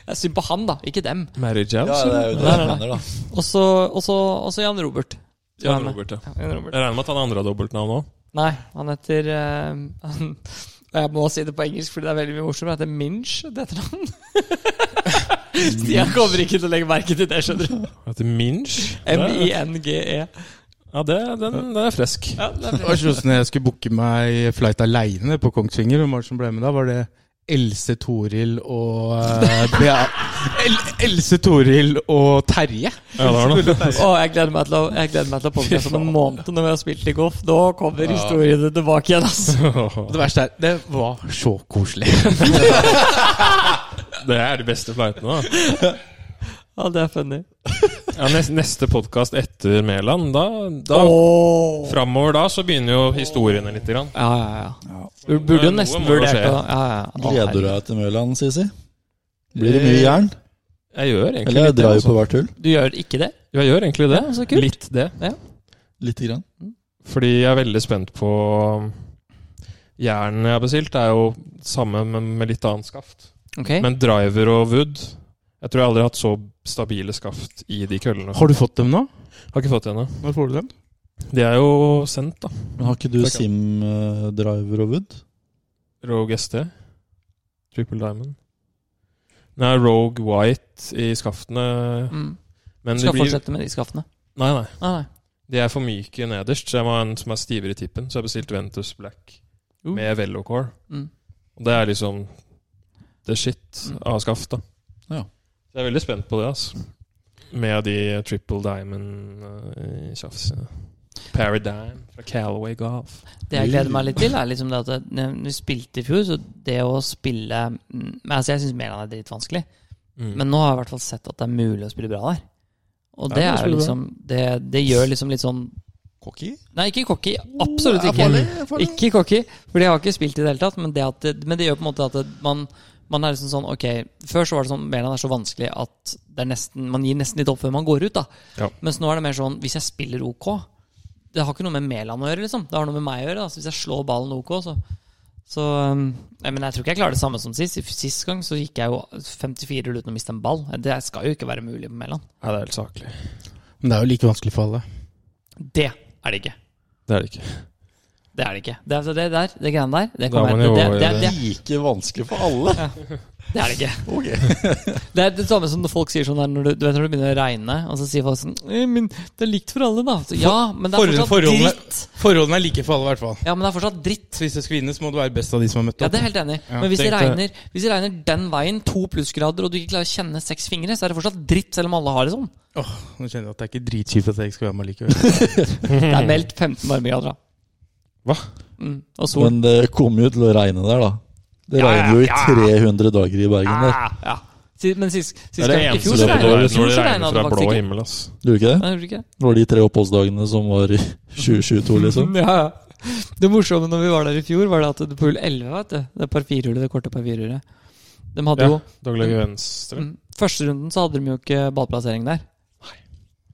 [SPEAKER 1] Det er synd på han, da, ikke dem.
[SPEAKER 3] Marriage
[SPEAKER 2] Ja, det er jo det
[SPEAKER 1] Nei,
[SPEAKER 2] jeg
[SPEAKER 1] nei, nei.
[SPEAKER 2] mener, da.
[SPEAKER 1] Og så og så- og så Jan Robert.
[SPEAKER 3] Ja, Robert, ja.
[SPEAKER 1] Ja, Jan Robert.
[SPEAKER 3] Jeg regner med at han andre har dobbeltnavn òg.
[SPEAKER 1] Nei, han heter eh, han, og Jeg må si det på engelsk, fordi det er veldig mye morsomt. Han heter Minch, det heter han. (laughs) Stian kommer ikke til å legge merke til det, skjønner du.
[SPEAKER 3] Heter Minch.
[SPEAKER 1] Eh,
[SPEAKER 3] Det-
[SPEAKER 1] M-I-N-G-E.
[SPEAKER 3] Ja, det, den, den er fresk.
[SPEAKER 1] Ja, det er
[SPEAKER 4] Det var
[SPEAKER 1] bra.
[SPEAKER 4] sånn som når jeg skulle booke meg flight aleine på Kongsvinger. Hvem var det som ble med da? Var det Else Toril og eh, (laughs) Bea... El Else Toril og Terje?
[SPEAKER 3] Ja, det var den.
[SPEAKER 1] Å, jeg gleder meg til å, jeg gleder meg til å podkaste om en måned når vi har spilt litt golf. Da kommer historiene tilbake igjen, altså. ass.
[SPEAKER 4] Og det verste er, det var så (laughs) koselig.
[SPEAKER 3] Det er de beste flightene, da.
[SPEAKER 1] Ja, det er funny.
[SPEAKER 3] Ja, nes- neste podkast etter Mæland, da, da
[SPEAKER 1] Åh.
[SPEAKER 3] Framover da så begynner jo historiene litt. Grann.
[SPEAKER 1] Ja, ja, ja.
[SPEAKER 2] Ja.
[SPEAKER 1] Du burde jo
[SPEAKER 3] Men noe
[SPEAKER 1] nesten
[SPEAKER 3] må jo
[SPEAKER 1] vurdert
[SPEAKER 3] skje.
[SPEAKER 1] det. da. Ja, ja, ja. Å,
[SPEAKER 2] Gleder du
[SPEAKER 1] herregud.
[SPEAKER 2] deg til Mørland, Sisi? Blir det mye jern?
[SPEAKER 3] Jeg gjør egentlig
[SPEAKER 2] Eller
[SPEAKER 3] litt det.
[SPEAKER 2] drar jo
[SPEAKER 3] Altså.
[SPEAKER 2] på hvert hull?
[SPEAKER 1] Du gjør ikke det?
[SPEAKER 3] Jeg gjør egentlig det.
[SPEAKER 1] Ja, så kult.
[SPEAKER 3] Litt det.
[SPEAKER 2] Lite grann.
[SPEAKER 3] Fordi jeg er veldig spent på Jernet jeg har bestilt, er jo samme, men med litt annet skaft.
[SPEAKER 1] Ok.
[SPEAKER 3] Men driver og wood Jeg tror jeg aldri har hatt så stabile skaft i de køllene.
[SPEAKER 4] Har du fått dem nå?
[SPEAKER 3] Har ikke fått det ennå.
[SPEAKER 4] Når får du dem?
[SPEAKER 3] De er jo sendt, da.
[SPEAKER 2] Men har ikke du
[SPEAKER 3] Takk, ja.
[SPEAKER 2] Sim-driver og Wood?
[SPEAKER 3] Rogue ST. Triple Diamond. Nei, Rogue White i skaftene.
[SPEAKER 1] mm.
[SPEAKER 3] Men de
[SPEAKER 1] Skal
[SPEAKER 3] blir
[SPEAKER 1] fortsette med de skaftene.
[SPEAKER 3] Nei, nei.
[SPEAKER 1] Nei, nei.
[SPEAKER 3] De er for myke nederst, så jeg må ha en som er stivere i tippen. Så jeg bestilte Ventus Black
[SPEAKER 1] Uh.
[SPEAKER 3] med Velocore.
[SPEAKER 1] Mm.
[SPEAKER 3] Og det er liksom the shit
[SPEAKER 1] Mm.
[SPEAKER 3] av skaft, da.
[SPEAKER 2] Ja.
[SPEAKER 3] Så jeg er veldig spent på det, altså. Med de triple eh, diamond-tjafsene. Paradigm fra Calaway Golf.
[SPEAKER 1] Det jeg gleder meg litt til, er liksom det at det- når vi spilte i fjor, så det å spille mm, Men altså, jeg syns Mæland er dritvanskelig,
[SPEAKER 3] Mm.
[SPEAKER 1] men nå har jeg i hvert fall sett at det er mulig å spille bra der. Og det
[SPEAKER 3] Ja, det
[SPEAKER 1] er
[SPEAKER 3] spiller
[SPEAKER 1] jo
[SPEAKER 3] bra.
[SPEAKER 1] liksom det, det gjør liksom litt sånn
[SPEAKER 2] Cocky?
[SPEAKER 1] Nei, ikke cocky. Absolutt ikke. Ikke cocky, for jeg har ikke spilt i det hele tatt, men det, at det, men det gjør på en måte at det, man man er liksom sånn, ok, Før så var det sånn Mæland er så vanskelig at det er nesten, man gir nesten litt opp før man går ut. da
[SPEAKER 3] Ja.
[SPEAKER 1] Mens nå er det mer sånn hvis jeg spiller OK Det har ikke noe med Mæland å gjøre. liksom Det har noe med meg å gjøre. da Så Hvis jeg slår ballen OK, så, Så um, nei, Men jeg tror ikke jeg klarer det samme som sist. Sist gang så gikk jeg jo 54 rull uten å miste en ball. Det skal jo ikke være mulig på Mæland.
[SPEAKER 3] Nei, det er helt saklig.
[SPEAKER 4] Men det er jo like vanskelig for alle.
[SPEAKER 1] Det er det ikke.
[SPEAKER 3] Det er det ikke.
[SPEAKER 1] Det er det ikke. Det, er- det der, det greiene der, det kan
[SPEAKER 3] Da må
[SPEAKER 1] være
[SPEAKER 3] man
[SPEAKER 1] det,
[SPEAKER 3] jo-
[SPEAKER 1] det, det,
[SPEAKER 2] Like vanskelig for alle!
[SPEAKER 1] Det er det ikke. Det er det samme som når folk sier sånn her når du, du vet når det begynner å regne, og så sier folk sånn «Eh, Men det er likt for alle, da. Så, ja, men det er
[SPEAKER 4] For-
[SPEAKER 1] fortsatt
[SPEAKER 4] forholdene-
[SPEAKER 1] dritt.
[SPEAKER 4] Forholdene er like for alle, i hvert fall.
[SPEAKER 1] Ja, men det er fortsatt dritt.
[SPEAKER 4] Så hvis det skal vinne, så må det være best av de som har møtt
[SPEAKER 1] Ja,
[SPEAKER 4] opp.
[SPEAKER 1] det er jeg helt enig. i.
[SPEAKER 4] Ja,
[SPEAKER 1] men hvis det,
[SPEAKER 3] tenk det.
[SPEAKER 1] regner, hvis det regner den veien, to plussgrader, og du ikke klarer å kjenne seks fingre, så er det fortsatt dritt, selv om alle har det
[SPEAKER 3] (laughs)
[SPEAKER 1] sånn.
[SPEAKER 4] Åh, nå kjenner jeg at det er ikke dritkjipt at jeg ikke skal være med
[SPEAKER 1] (laughs)
[SPEAKER 4] likevel.
[SPEAKER 1] Det er meldt 15 varmegrader, da.
[SPEAKER 3] Hva?
[SPEAKER 1] Mm, og sol.
[SPEAKER 2] Men det kommer jo til å regne der, da. Det
[SPEAKER 1] Ja, ja,
[SPEAKER 2] regner jo i
[SPEAKER 1] ja.
[SPEAKER 2] 300 dager i Bergen der.
[SPEAKER 1] ah, ja. Si- Men sist, sist
[SPEAKER 2] Det er det
[SPEAKER 1] gang- i
[SPEAKER 2] eneste
[SPEAKER 1] fjor så
[SPEAKER 2] du har på
[SPEAKER 1] regnet-
[SPEAKER 2] dårlig
[SPEAKER 1] i fjor
[SPEAKER 3] når det
[SPEAKER 1] så
[SPEAKER 3] regner
[SPEAKER 1] regnet det
[SPEAKER 3] fra blå
[SPEAKER 1] faktisk ikke.
[SPEAKER 3] himmel, ass.
[SPEAKER 2] Gjorde du ikke det?
[SPEAKER 1] Nei, gjorde det ikke?
[SPEAKER 2] Det var de tre oppholdsdagene som var i 2022, liksom.
[SPEAKER 1] (laughs) Ja, ja. Det morsomme når vi var der i fjor, var det at på hull 11, vet du, det parfirhullet, det korte parfirhullet De hadde
[SPEAKER 3] Ja.
[SPEAKER 1] jo
[SPEAKER 3] Daglig venstre.
[SPEAKER 1] mm, Første runden så hadde de jo ikke ballplassering der.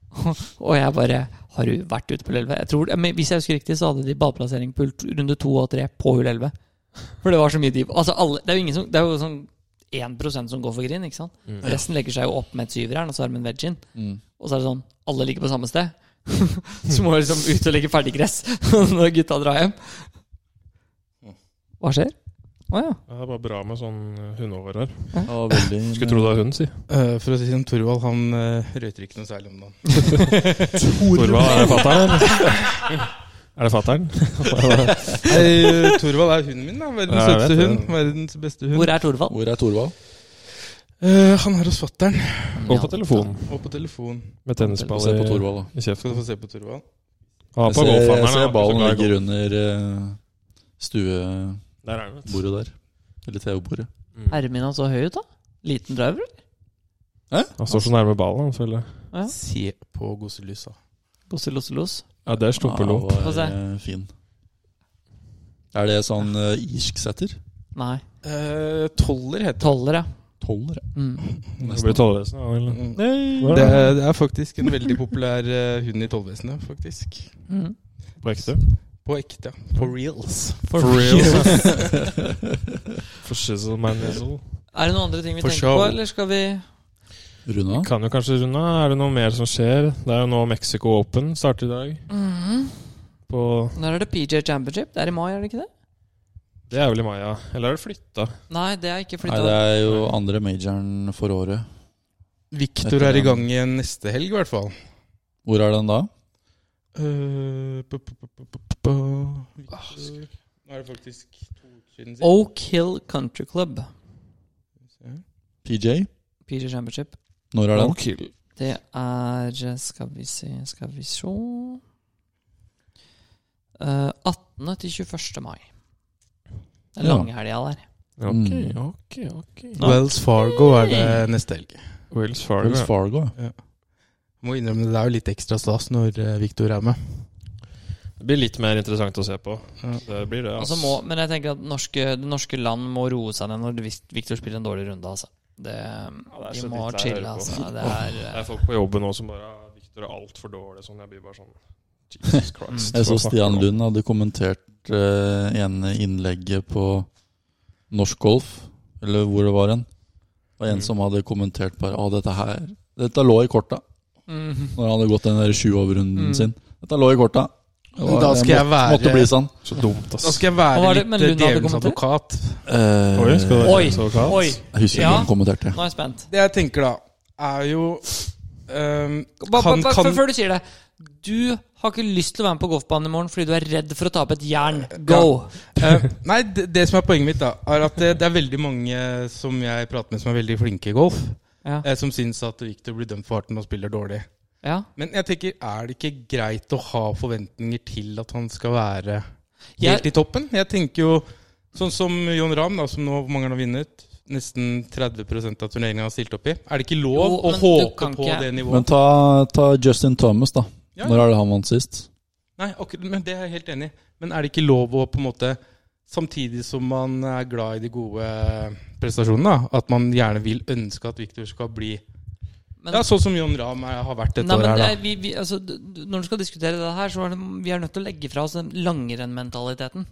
[SPEAKER 1] (laughs) og jeg bare Har du vært ute på hull 11? Jeg tror, men hvis jeg husker riktig, så hadde de ballplassering på hull, t- runde 2 og 3 på hull 11. For det var så mye div. Altså, alle, det er jo ingen som Det er jo sånn 1 som går for green, ikke sant?
[SPEAKER 3] Mm.
[SPEAKER 1] Resten legger seg jo opp med et syverjern, og så er de en veg in.
[SPEAKER 2] Mm.
[SPEAKER 1] Og så er det sånn, alle ligger på samme sted. (laughs) så må jeg liksom ut og legge ferdig gress (laughs) når gutta drar hjem. Hva skjer? Å ja.
[SPEAKER 3] Ja, det er bare bra med sånn eh, hundeoverhør.
[SPEAKER 2] Ja, veldig,
[SPEAKER 3] Skulle tro det var hunden, si.
[SPEAKER 4] Eh, for å si som Torvald, han uh, røyter ikke noe særlig
[SPEAKER 1] (laughs)
[SPEAKER 4] om dagen.
[SPEAKER 3] Torvald, er det fatter'n? er det fatter'n?
[SPEAKER 4] Nei, Torvald er hunden min, da. Verdens
[SPEAKER 3] Ja, jeg vet
[SPEAKER 4] søteste
[SPEAKER 3] det.
[SPEAKER 4] hund. Verdens beste hund.
[SPEAKER 1] Hvor er Torvald?
[SPEAKER 2] Hvor er Torvald?
[SPEAKER 4] Eh, han er hos fatter'n.
[SPEAKER 3] Og på telefon
[SPEAKER 4] Og på telefon.
[SPEAKER 3] med
[SPEAKER 2] Få
[SPEAKER 3] tennisball
[SPEAKER 2] se
[SPEAKER 3] i,
[SPEAKER 2] på Torvald, da.
[SPEAKER 3] i kjeften.
[SPEAKER 4] Skal du få se på Torvald?
[SPEAKER 3] Ah,
[SPEAKER 2] Jeg
[SPEAKER 3] på
[SPEAKER 2] ser,
[SPEAKER 3] golfhandleren,
[SPEAKER 2] jeg ser
[SPEAKER 3] da.
[SPEAKER 2] ballen
[SPEAKER 3] Så glad i
[SPEAKER 2] ligger
[SPEAKER 3] golf.
[SPEAKER 2] under eh, stuebordet
[SPEAKER 3] Der er den. vet du.
[SPEAKER 2] der. Eller TV-bordet.
[SPEAKER 3] Mm.
[SPEAKER 1] Herren min han så høy ut, da. Liten driver. eller?
[SPEAKER 3] Han står så nærme ballen, han føler jeg.
[SPEAKER 1] Ja.
[SPEAKER 4] Se på goselysa.
[SPEAKER 1] Gosse, losse, los.
[SPEAKER 3] Ja, der sto på lomp.
[SPEAKER 1] Få
[SPEAKER 2] var
[SPEAKER 1] se.
[SPEAKER 2] eh, fin. Er det sånn eh, irsk setter?
[SPEAKER 1] Nei.
[SPEAKER 4] Uh, toller heter
[SPEAKER 1] Toller, ja.
[SPEAKER 2] Tolver, ja.
[SPEAKER 1] Mm.
[SPEAKER 3] Det (laughs) blir tollesen, ja, eller?
[SPEAKER 4] Mm.
[SPEAKER 3] Hva
[SPEAKER 4] Det,
[SPEAKER 3] er det?
[SPEAKER 4] er- det er faktisk en veldig populær eh, hund i tollvesenet, faktisk.
[SPEAKER 1] Mm.
[SPEAKER 3] På ekte?
[SPEAKER 4] På ekte. På reals.
[SPEAKER 1] For,
[SPEAKER 3] For real.
[SPEAKER 1] real.
[SPEAKER 2] (laughs)
[SPEAKER 3] For shizzle my nizzle.
[SPEAKER 1] Er det noen andre ting vi
[SPEAKER 4] For
[SPEAKER 1] tenker
[SPEAKER 4] show.
[SPEAKER 1] på, eller skal vi
[SPEAKER 2] Runa?
[SPEAKER 3] Kan jo kanskje runde av. Er det noe mer som skjer? Det er jo nå Mexico Open starter i dag.
[SPEAKER 1] Mhm.
[SPEAKER 3] På
[SPEAKER 1] Når er det PJ Championship? Det er i mai, er det ikke det?
[SPEAKER 3] Det er vel i Maya. Eller er det flytta?
[SPEAKER 1] Nei, det er ikke
[SPEAKER 2] Nei,
[SPEAKER 1] flytta.
[SPEAKER 2] det er jo andre majoren for året.
[SPEAKER 4] Victor er i gang igjen neste helg, i hvert fall.
[SPEAKER 2] Hvor er den da?
[SPEAKER 4] Eh, bu- bu- bu- bu- bu- bu- Victor. Nå er det faktisk to uker siden sist.
[SPEAKER 1] Oak Hill Country Club.
[SPEAKER 2] PJ?
[SPEAKER 1] PJ Championship.
[SPEAKER 2] Når er den?
[SPEAKER 1] Det er Skal vi se Skal vi se Eh, 18. til 21. mai. Det er
[SPEAKER 2] Ja.
[SPEAKER 1] langhelga der.
[SPEAKER 3] Ok,
[SPEAKER 2] Mm.
[SPEAKER 3] ok, ok.
[SPEAKER 4] Wells Fargo er det neste helg.
[SPEAKER 3] Wales Fargo.
[SPEAKER 2] Wells
[SPEAKER 3] ja.
[SPEAKER 2] Fargo. ja.
[SPEAKER 4] Må innrømme det, det er jo litt ekstra stas når eh, Victor er med.
[SPEAKER 3] Det blir litt mer interessant å se på.
[SPEAKER 4] Ja.
[SPEAKER 3] Det blir det,
[SPEAKER 1] Og
[SPEAKER 3] ass.
[SPEAKER 1] så Altså, må, men jeg tenker at norske, det norske land må roe seg ned når Vis- Victor spiller en dårlig runde. Altså. Det,
[SPEAKER 3] det er
[SPEAKER 1] de
[SPEAKER 3] så
[SPEAKER 1] må
[SPEAKER 3] dritt jeg
[SPEAKER 1] chille,
[SPEAKER 3] hører på.
[SPEAKER 1] altså. Det er,
[SPEAKER 3] Det
[SPEAKER 1] eh,
[SPEAKER 3] er folk på jobben nå som bare «Ah, Victor er altfor dårlig. Sånn, jeg blir bare sånn
[SPEAKER 2] (laughs)
[SPEAKER 3] Jesus Christ.
[SPEAKER 2] Mm. Jeg så
[SPEAKER 3] hva snakker
[SPEAKER 2] Stian
[SPEAKER 3] du om?
[SPEAKER 2] Lund hadde kommentert uh, ene innlegget på Norsk Golf, eller hvor det var hen. Det var en
[SPEAKER 3] Mm.
[SPEAKER 2] som hadde kommentert bare Å, dette her Dette lå i korta.
[SPEAKER 1] mm,
[SPEAKER 2] Når han hadde gått den der sju-over-runden
[SPEAKER 1] Mm.
[SPEAKER 2] sin. Dette lå i korta. Det var-
[SPEAKER 4] Da skal jeg
[SPEAKER 2] måtte,
[SPEAKER 4] være-
[SPEAKER 2] måtte bli sånn.
[SPEAKER 3] Så dumt, ass.
[SPEAKER 4] Da skal jeg
[SPEAKER 1] Hva
[SPEAKER 4] være
[SPEAKER 1] var det? Men
[SPEAKER 4] litt eh,
[SPEAKER 1] Lund hadde
[SPEAKER 4] djevelens
[SPEAKER 1] kommentert?
[SPEAKER 4] advokat.
[SPEAKER 2] Eh,
[SPEAKER 3] Oi, skal det
[SPEAKER 1] Oi,
[SPEAKER 3] være så kaldt?
[SPEAKER 1] Oi!
[SPEAKER 2] Jeg husker ikke
[SPEAKER 1] Ja.
[SPEAKER 2] hvem som kommenterte.
[SPEAKER 1] Nå er jeg spent.
[SPEAKER 4] Det jeg tenker da, er jo ehm,
[SPEAKER 1] Ba, ba,
[SPEAKER 4] Kan-
[SPEAKER 1] ba,
[SPEAKER 4] kan-
[SPEAKER 1] før- Før du sier det. Du har ikke lyst til å være med på golfbanen i morgen fordi du er redd for å tape et jern. Go!
[SPEAKER 4] Eh, nei, det, det som er poenget mitt, da, er at eh, det, det er veldig mange som jeg prater med, som er veldig flinke i golf,
[SPEAKER 1] Ja.
[SPEAKER 4] eh, som syns at Victor blir dømt for harten og spiller dårlig.
[SPEAKER 1] ja.
[SPEAKER 4] Men jeg tenker, er det ikke greit å ha forventninger til at han skal være
[SPEAKER 1] Jeg-
[SPEAKER 4] helt i toppen? Jeg tenker jo sånn som John Rahm, da, som nå hvor mange han har vunnet. Nesten 30 av turneringa har stilt opp i. Er det ikke lov
[SPEAKER 1] Jo,
[SPEAKER 4] å
[SPEAKER 1] men du
[SPEAKER 4] håpe
[SPEAKER 1] kan
[SPEAKER 4] på
[SPEAKER 1] ikke-
[SPEAKER 4] det nivået?
[SPEAKER 2] Men ta, ta Justin Thomas, da.
[SPEAKER 4] Ja.
[SPEAKER 2] Når er det han vant sist?
[SPEAKER 4] Nei, akkurat, men Det er jeg helt enig i. Men er det ikke lov å på en måte Samtidig som man er glad i de gode eh, prestasjonene, da, at man gjerne vil ønske at Victor skal bli
[SPEAKER 1] Men-
[SPEAKER 4] Ja, sånn som John Rahm er- har vært dette
[SPEAKER 1] Nei,
[SPEAKER 4] året
[SPEAKER 1] men
[SPEAKER 4] her, da.
[SPEAKER 1] det er- vi, vi, altså, d- d- når du skal diskutere det her, så er det, vi er nødt til å legge fra oss den langrennmentaliteten.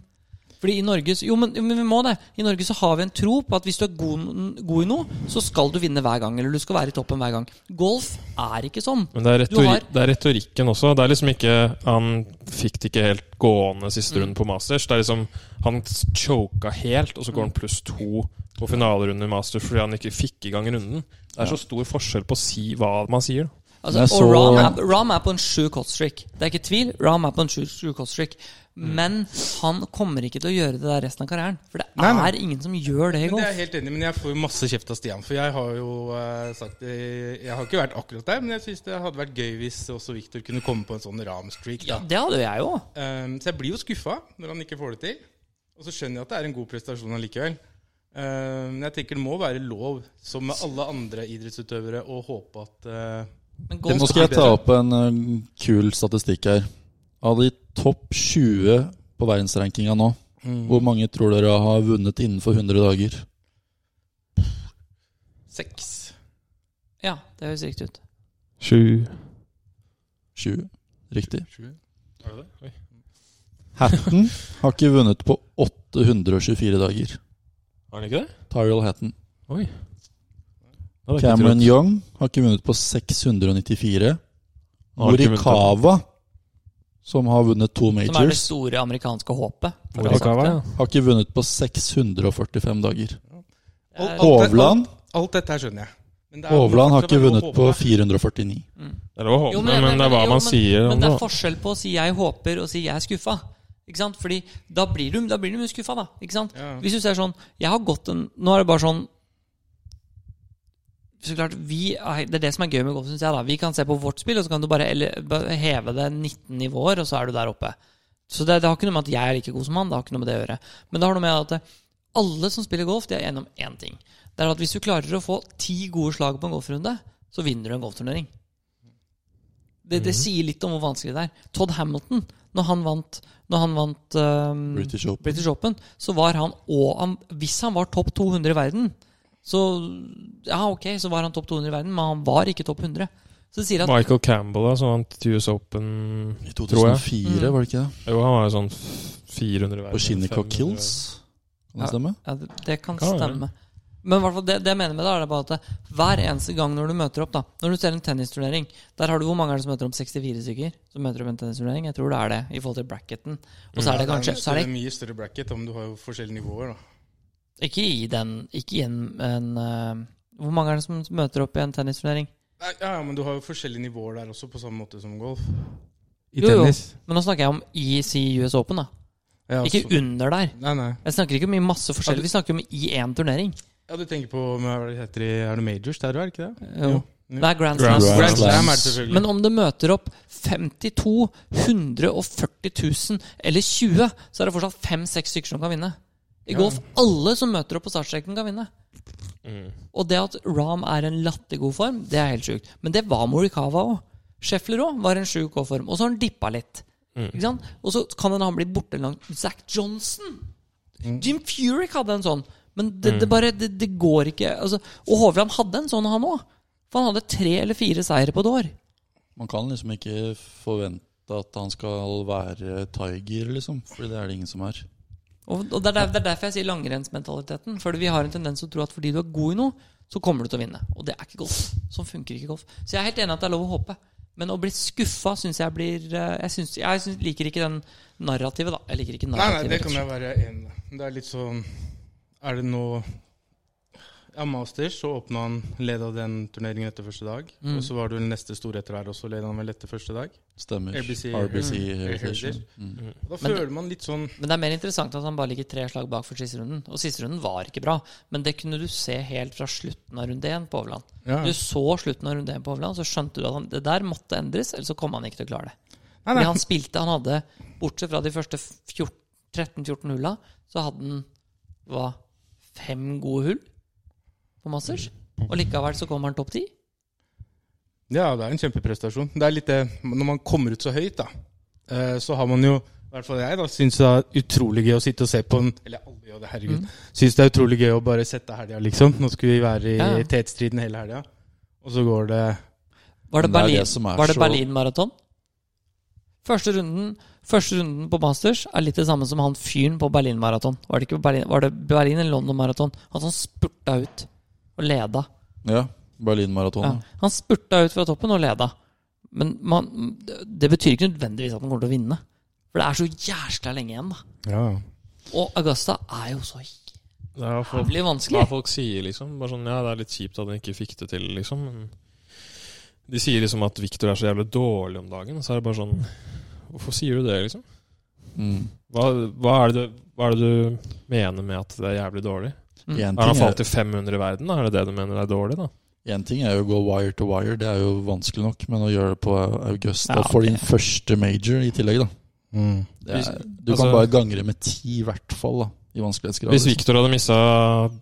[SPEAKER 1] Fordi i Norge så- Jo, men, jo, men vi må det. I Norge så har vi en tro på at hvis du er god, god i noe, så skal du vinne hver gang. Eller du skal være i toppen hver gang. Golf er ikke sånn.
[SPEAKER 3] Men det er,
[SPEAKER 1] Du har-
[SPEAKER 3] retori det er retorikken også. Det er liksom ikke Han fikk det ikke helt gående
[SPEAKER 1] Mm.
[SPEAKER 3] siste runden på Masters. Det er liksom Han choka helt, og så
[SPEAKER 1] Mm.
[SPEAKER 3] går han pluss to på finalerunden i Masters fordi han ikke fikk i gang runden. Det er så stor forskjell på å si hva man sier. da.
[SPEAKER 1] Altså,
[SPEAKER 2] Jeg så-
[SPEAKER 1] Og Ram er, Rahm er på en sju cutstreak. Det er ikke tvil. Ram er på en sju, sju cutstreak.
[SPEAKER 4] Mm.
[SPEAKER 1] Men han kommer ikke til å gjøre det der resten av karrieren. For det
[SPEAKER 4] Nei, nei.
[SPEAKER 1] er ingen som gjør det i
[SPEAKER 4] Men det er
[SPEAKER 1] golf.
[SPEAKER 4] jeg helt enig, i, men jeg får jo masse kjeft av Stian. For jeg har jo eh, sagt det Jeg har ikke vært akkurat der, men jeg syns det hadde vært gøy hvis også Victor kunne komme på en sånn Ram-streak.
[SPEAKER 1] Ja,
[SPEAKER 4] da.
[SPEAKER 1] det hadde jeg jo.
[SPEAKER 4] Ehm, så jeg blir jo skuffa når han ikke får det til. Og så skjønner jeg at det er en god prestasjon allikevel. Ehm, men jeg tenker det må være lov, som med alle andre idrettsutøvere, å håpe at eh,
[SPEAKER 1] Men
[SPEAKER 2] Nå
[SPEAKER 1] golf
[SPEAKER 2] skal jeg
[SPEAKER 1] er
[SPEAKER 2] ta opp en ø, kul statistikk her. Av de topp 20 på verdensrankinga nå,
[SPEAKER 4] mm.
[SPEAKER 2] hvor mange tror dere har vunnet innenfor 100 dager?
[SPEAKER 4] Seks.
[SPEAKER 1] Ja, det høres riktig ut.
[SPEAKER 3] Sju.
[SPEAKER 2] 20. Riktig.
[SPEAKER 4] Sju.
[SPEAKER 2] Hatton (laughs) har ikke vunnet på 824 dager.
[SPEAKER 3] Har han ikke det?
[SPEAKER 2] Tyrell Hatton.
[SPEAKER 3] Oi. Det hadde jeg ikke
[SPEAKER 2] Cameron
[SPEAKER 3] trodd.
[SPEAKER 2] Young har ikke vunnet på 694.
[SPEAKER 3] Han har ikke vunnet.
[SPEAKER 2] Morikawa, som har vunnet to
[SPEAKER 1] Som er det
[SPEAKER 2] majors,
[SPEAKER 1] store amerikanske håpet. for å ha
[SPEAKER 3] Morikawa,
[SPEAKER 1] sagt det.
[SPEAKER 3] ja.
[SPEAKER 2] har ikke vunnet på 645 dager.
[SPEAKER 1] Det er-
[SPEAKER 2] Hovland
[SPEAKER 4] Alt dette her skjønner jeg. Men det er-
[SPEAKER 2] Hovland har ikke
[SPEAKER 4] det er lov å
[SPEAKER 2] vunnet på
[SPEAKER 4] håpe.
[SPEAKER 2] 449.
[SPEAKER 3] Det er lov å håpe,
[SPEAKER 1] Jo,
[SPEAKER 3] men, det er hva
[SPEAKER 1] jo,
[SPEAKER 3] man
[SPEAKER 1] men-
[SPEAKER 3] sier
[SPEAKER 1] Men
[SPEAKER 3] om
[SPEAKER 1] det
[SPEAKER 3] det.
[SPEAKER 1] er forskjell på å si 'jeg håper' og si 'jeg er skuffa'. Ikke sant? Fordi da blir du, da blir du mye skuffa, da. Ikke sant?
[SPEAKER 4] Ja.
[SPEAKER 1] Hvis du ser sånn Jeg har gått en Nå er det bare sånn så klart, vi, er- Det er det som er gøy med golf, syns jeg. da Vi kan se på vårt spill, og så kan du bare ele- bare heve det 19 nivåer, og så er du der oppe. Så det, det har ikke noe med at jeg er like god som han, det har ikke noe med det å gjøre. Men det har noe med at eh, alle som spiller golf, de er enige om én ting. Det er at hvis du klarer å få ti gode slag på en golfrunde, så vinner du en golfturnering. Det, det sier litt om hvor vanskelig det er. Todd Hamilton, når han vant, når han vant eh,
[SPEAKER 2] British Open.
[SPEAKER 1] British Open, så var han og han, Hvis han var topp 200 i verden, så Ja, ok, så var han topp 200 i verden, men han var ikke topp 100. Så det sier at
[SPEAKER 3] Michael Campbell, altså, da, som vant US Open
[SPEAKER 2] I
[SPEAKER 3] Tror jeg.
[SPEAKER 2] 2004, var det ikke det?
[SPEAKER 3] Jo, han var jo sånn 400 i verden.
[SPEAKER 2] På Shinnecock
[SPEAKER 3] 500 i
[SPEAKER 2] Kills? Kan det stemme?
[SPEAKER 1] ja, det- Det kan
[SPEAKER 3] Kan være.
[SPEAKER 1] stemme. Men i hvert fall det, det jeg mener med det, er det bare at det, hver eneste gang når du møter opp da Når du ser en tennisturnering Der har du hvor mange er det som møter opp? 64 stykker? Som møter opp i en tennisturnering? Jeg tror det er det, i forhold til bracketen. Og så er det
[SPEAKER 4] Ja,
[SPEAKER 1] kanskje
[SPEAKER 4] en
[SPEAKER 1] så er
[SPEAKER 4] større-
[SPEAKER 1] det,
[SPEAKER 4] mye større bracket om du har jo forskjellige nivåer, da.
[SPEAKER 1] Ikke i den Ikke i en, en eh, Hvor mange er det som møter opp i en tennisturnering?
[SPEAKER 4] Nei, Ja, ja, men du har jo forskjellige nivåer der også, på samme måte som golf.
[SPEAKER 1] I Jo, jo. tennis. Men nå snakker jeg om i si US Open, da.
[SPEAKER 4] Ja,
[SPEAKER 1] Ikke
[SPEAKER 4] så-
[SPEAKER 1] under der.
[SPEAKER 4] Nei, nei.
[SPEAKER 1] Jeg snakker ikke om i masse forskjellig. Vi snakker om i én turnering.
[SPEAKER 4] Ja, du tenker på men hva det heter i, Er det majors der du er, ikke det?
[SPEAKER 1] Jo. Det er Grand
[SPEAKER 3] Grand
[SPEAKER 1] Slam.
[SPEAKER 2] Slam.
[SPEAKER 4] Grand Slam er det selvfølgelig.
[SPEAKER 1] Men om det møter opp 52, 140 000 eller 20, så er det fortsatt 5-6 stykker som kan vinne. I
[SPEAKER 4] Ja.
[SPEAKER 1] golf alle som møter opp på startstreken, kan vinne.
[SPEAKER 3] Mm.
[SPEAKER 1] Og det at Ram er en lattergod form, det er helt sjukt. Men det var Morikawa òg. Scheffler òg var en sjuk form. Og så har han dippa litt. Ikke sant? Og så kan hende han bli borte en lang Zack Johnson! Jim Furyk hadde en sånn. Men det, det bare det, det går ikke. Altså, og Hovland hadde en sånn, han òg. For han hadde tre eller fire seire på et år.
[SPEAKER 2] Man kan liksom ikke forvente at han skal være Tiger, liksom. Fordi det er det ingen som er.
[SPEAKER 1] Og, og det, er der, det er derfor jeg sier langrennsmentaliteten. For vi har en tendens til å tro at fordi du er god i noe, så kommer du til å vinne. Og det er ikke golf. Sånn funker ikke golf. Så jeg er helt enig at det er lov å håpe. Men å bli skuffa syns jeg blir eh, Jeg, synes, jeg synes, liker ikke den narrativet, da. Jeg liker ikke
[SPEAKER 4] Nei, nei,
[SPEAKER 1] narrativet.
[SPEAKER 4] det kan jeg være enig i. Det er litt sånn Er det nå Ja, Masters, så åpna han leda den turneringen etter første dag.
[SPEAKER 1] Mm.
[SPEAKER 4] Og så var det vel neste store etter her også, leda han vel etter første dag.
[SPEAKER 2] Stemmer.
[SPEAKER 4] RBC.
[SPEAKER 2] RBC
[SPEAKER 4] Mm.
[SPEAKER 2] Heritage. Mm.
[SPEAKER 4] Og da
[SPEAKER 1] Men det-
[SPEAKER 4] føler man litt sånn
[SPEAKER 1] Men det er mer interessant at han bare ligger tre slag bak for siste runden. Og siste runden var ikke bra. Men det kunne du se helt fra slutten av runde én på Hovland.
[SPEAKER 4] ja.
[SPEAKER 1] Du så slutten av runde én på Hovland, så skjønte du at han, det der måtte endres, ellers så kom han ikke til å klare det.
[SPEAKER 4] Nei,
[SPEAKER 1] Fordi
[SPEAKER 4] nei.
[SPEAKER 1] han spilte, han hadde Bortsett fra de første 14 13-14 hulla, så hadde han hva, fem gode hull på Masters. Og likevel så kommer han topp ti.
[SPEAKER 4] Ja, det er en kjempeprestasjon. Det er litt det, Når man kommer ut så høyt, da, eh, så har man jo i hvert fall jeg da, syns det er utrolig gøy å sitte og se på en Eller alle gjør det, herregud.
[SPEAKER 1] Mm.
[SPEAKER 4] Syns det er utrolig gøy å bare sette helga, liksom. Nå skulle vi være i
[SPEAKER 1] Ja.
[SPEAKER 4] tetstriden hele helga, og så går det
[SPEAKER 1] Var det
[SPEAKER 2] Men det er
[SPEAKER 1] Berlin-
[SPEAKER 2] det som er
[SPEAKER 1] var det
[SPEAKER 2] så-
[SPEAKER 1] Berlin-maraton? Første runden, første runden på Masters er litt det samme som han fyren på Berlin-maraton. Var det ikke på Berlin, var det Berlin eller London-maraton? Han som spurta ut og leda.
[SPEAKER 2] Ja,
[SPEAKER 1] Ja.
[SPEAKER 2] Berlinmaratonet.
[SPEAKER 1] Han spurta ut fra toppen og leda. Men man, det betyr ikke nødvendigvis at han kommer til å vinne. For det er så jæskla lenge igjen, da.
[SPEAKER 4] Ja.
[SPEAKER 1] Og Augusta er jo så
[SPEAKER 3] Det er i hvert fall-
[SPEAKER 1] jævlig
[SPEAKER 3] hva
[SPEAKER 1] Ah, vanskelig.
[SPEAKER 3] folk sier, liksom. Bare sånn, ja, det er litt kjipt at han ikke fikk det til, liksom. Men de sier liksom at Victor er så jævlig dårlig om dagen. Og så er det bare sånn Hvorfor sier du det, liksom?
[SPEAKER 2] Mm.
[SPEAKER 3] Hva, hva, er det, du- hva er det du mener med at det er jævlig dårlig?
[SPEAKER 1] Mm.
[SPEAKER 2] En,
[SPEAKER 3] Har han
[SPEAKER 2] ting
[SPEAKER 3] falt
[SPEAKER 2] er,
[SPEAKER 3] til 500 i verden? Da? Er det det du mener er dårlig, da?
[SPEAKER 2] en ting er jo å gå wire to wire, det er jo vanskelig nok. Men å gjøre det på Augusta
[SPEAKER 1] Ja,
[SPEAKER 2] for din
[SPEAKER 1] det-
[SPEAKER 2] første major i tillegg, da.
[SPEAKER 4] Mm.
[SPEAKER 2] Det er, du
[SPEAKER 3] Altså-
[SPEAKER 2] kan bare gangre med ti i hvert fall, da. I vanskelighetsgrad.
[SPEAKER 3] Hvis
[SPEAKER 2] liksom.
[SPEAKER 3] Victor hadde missa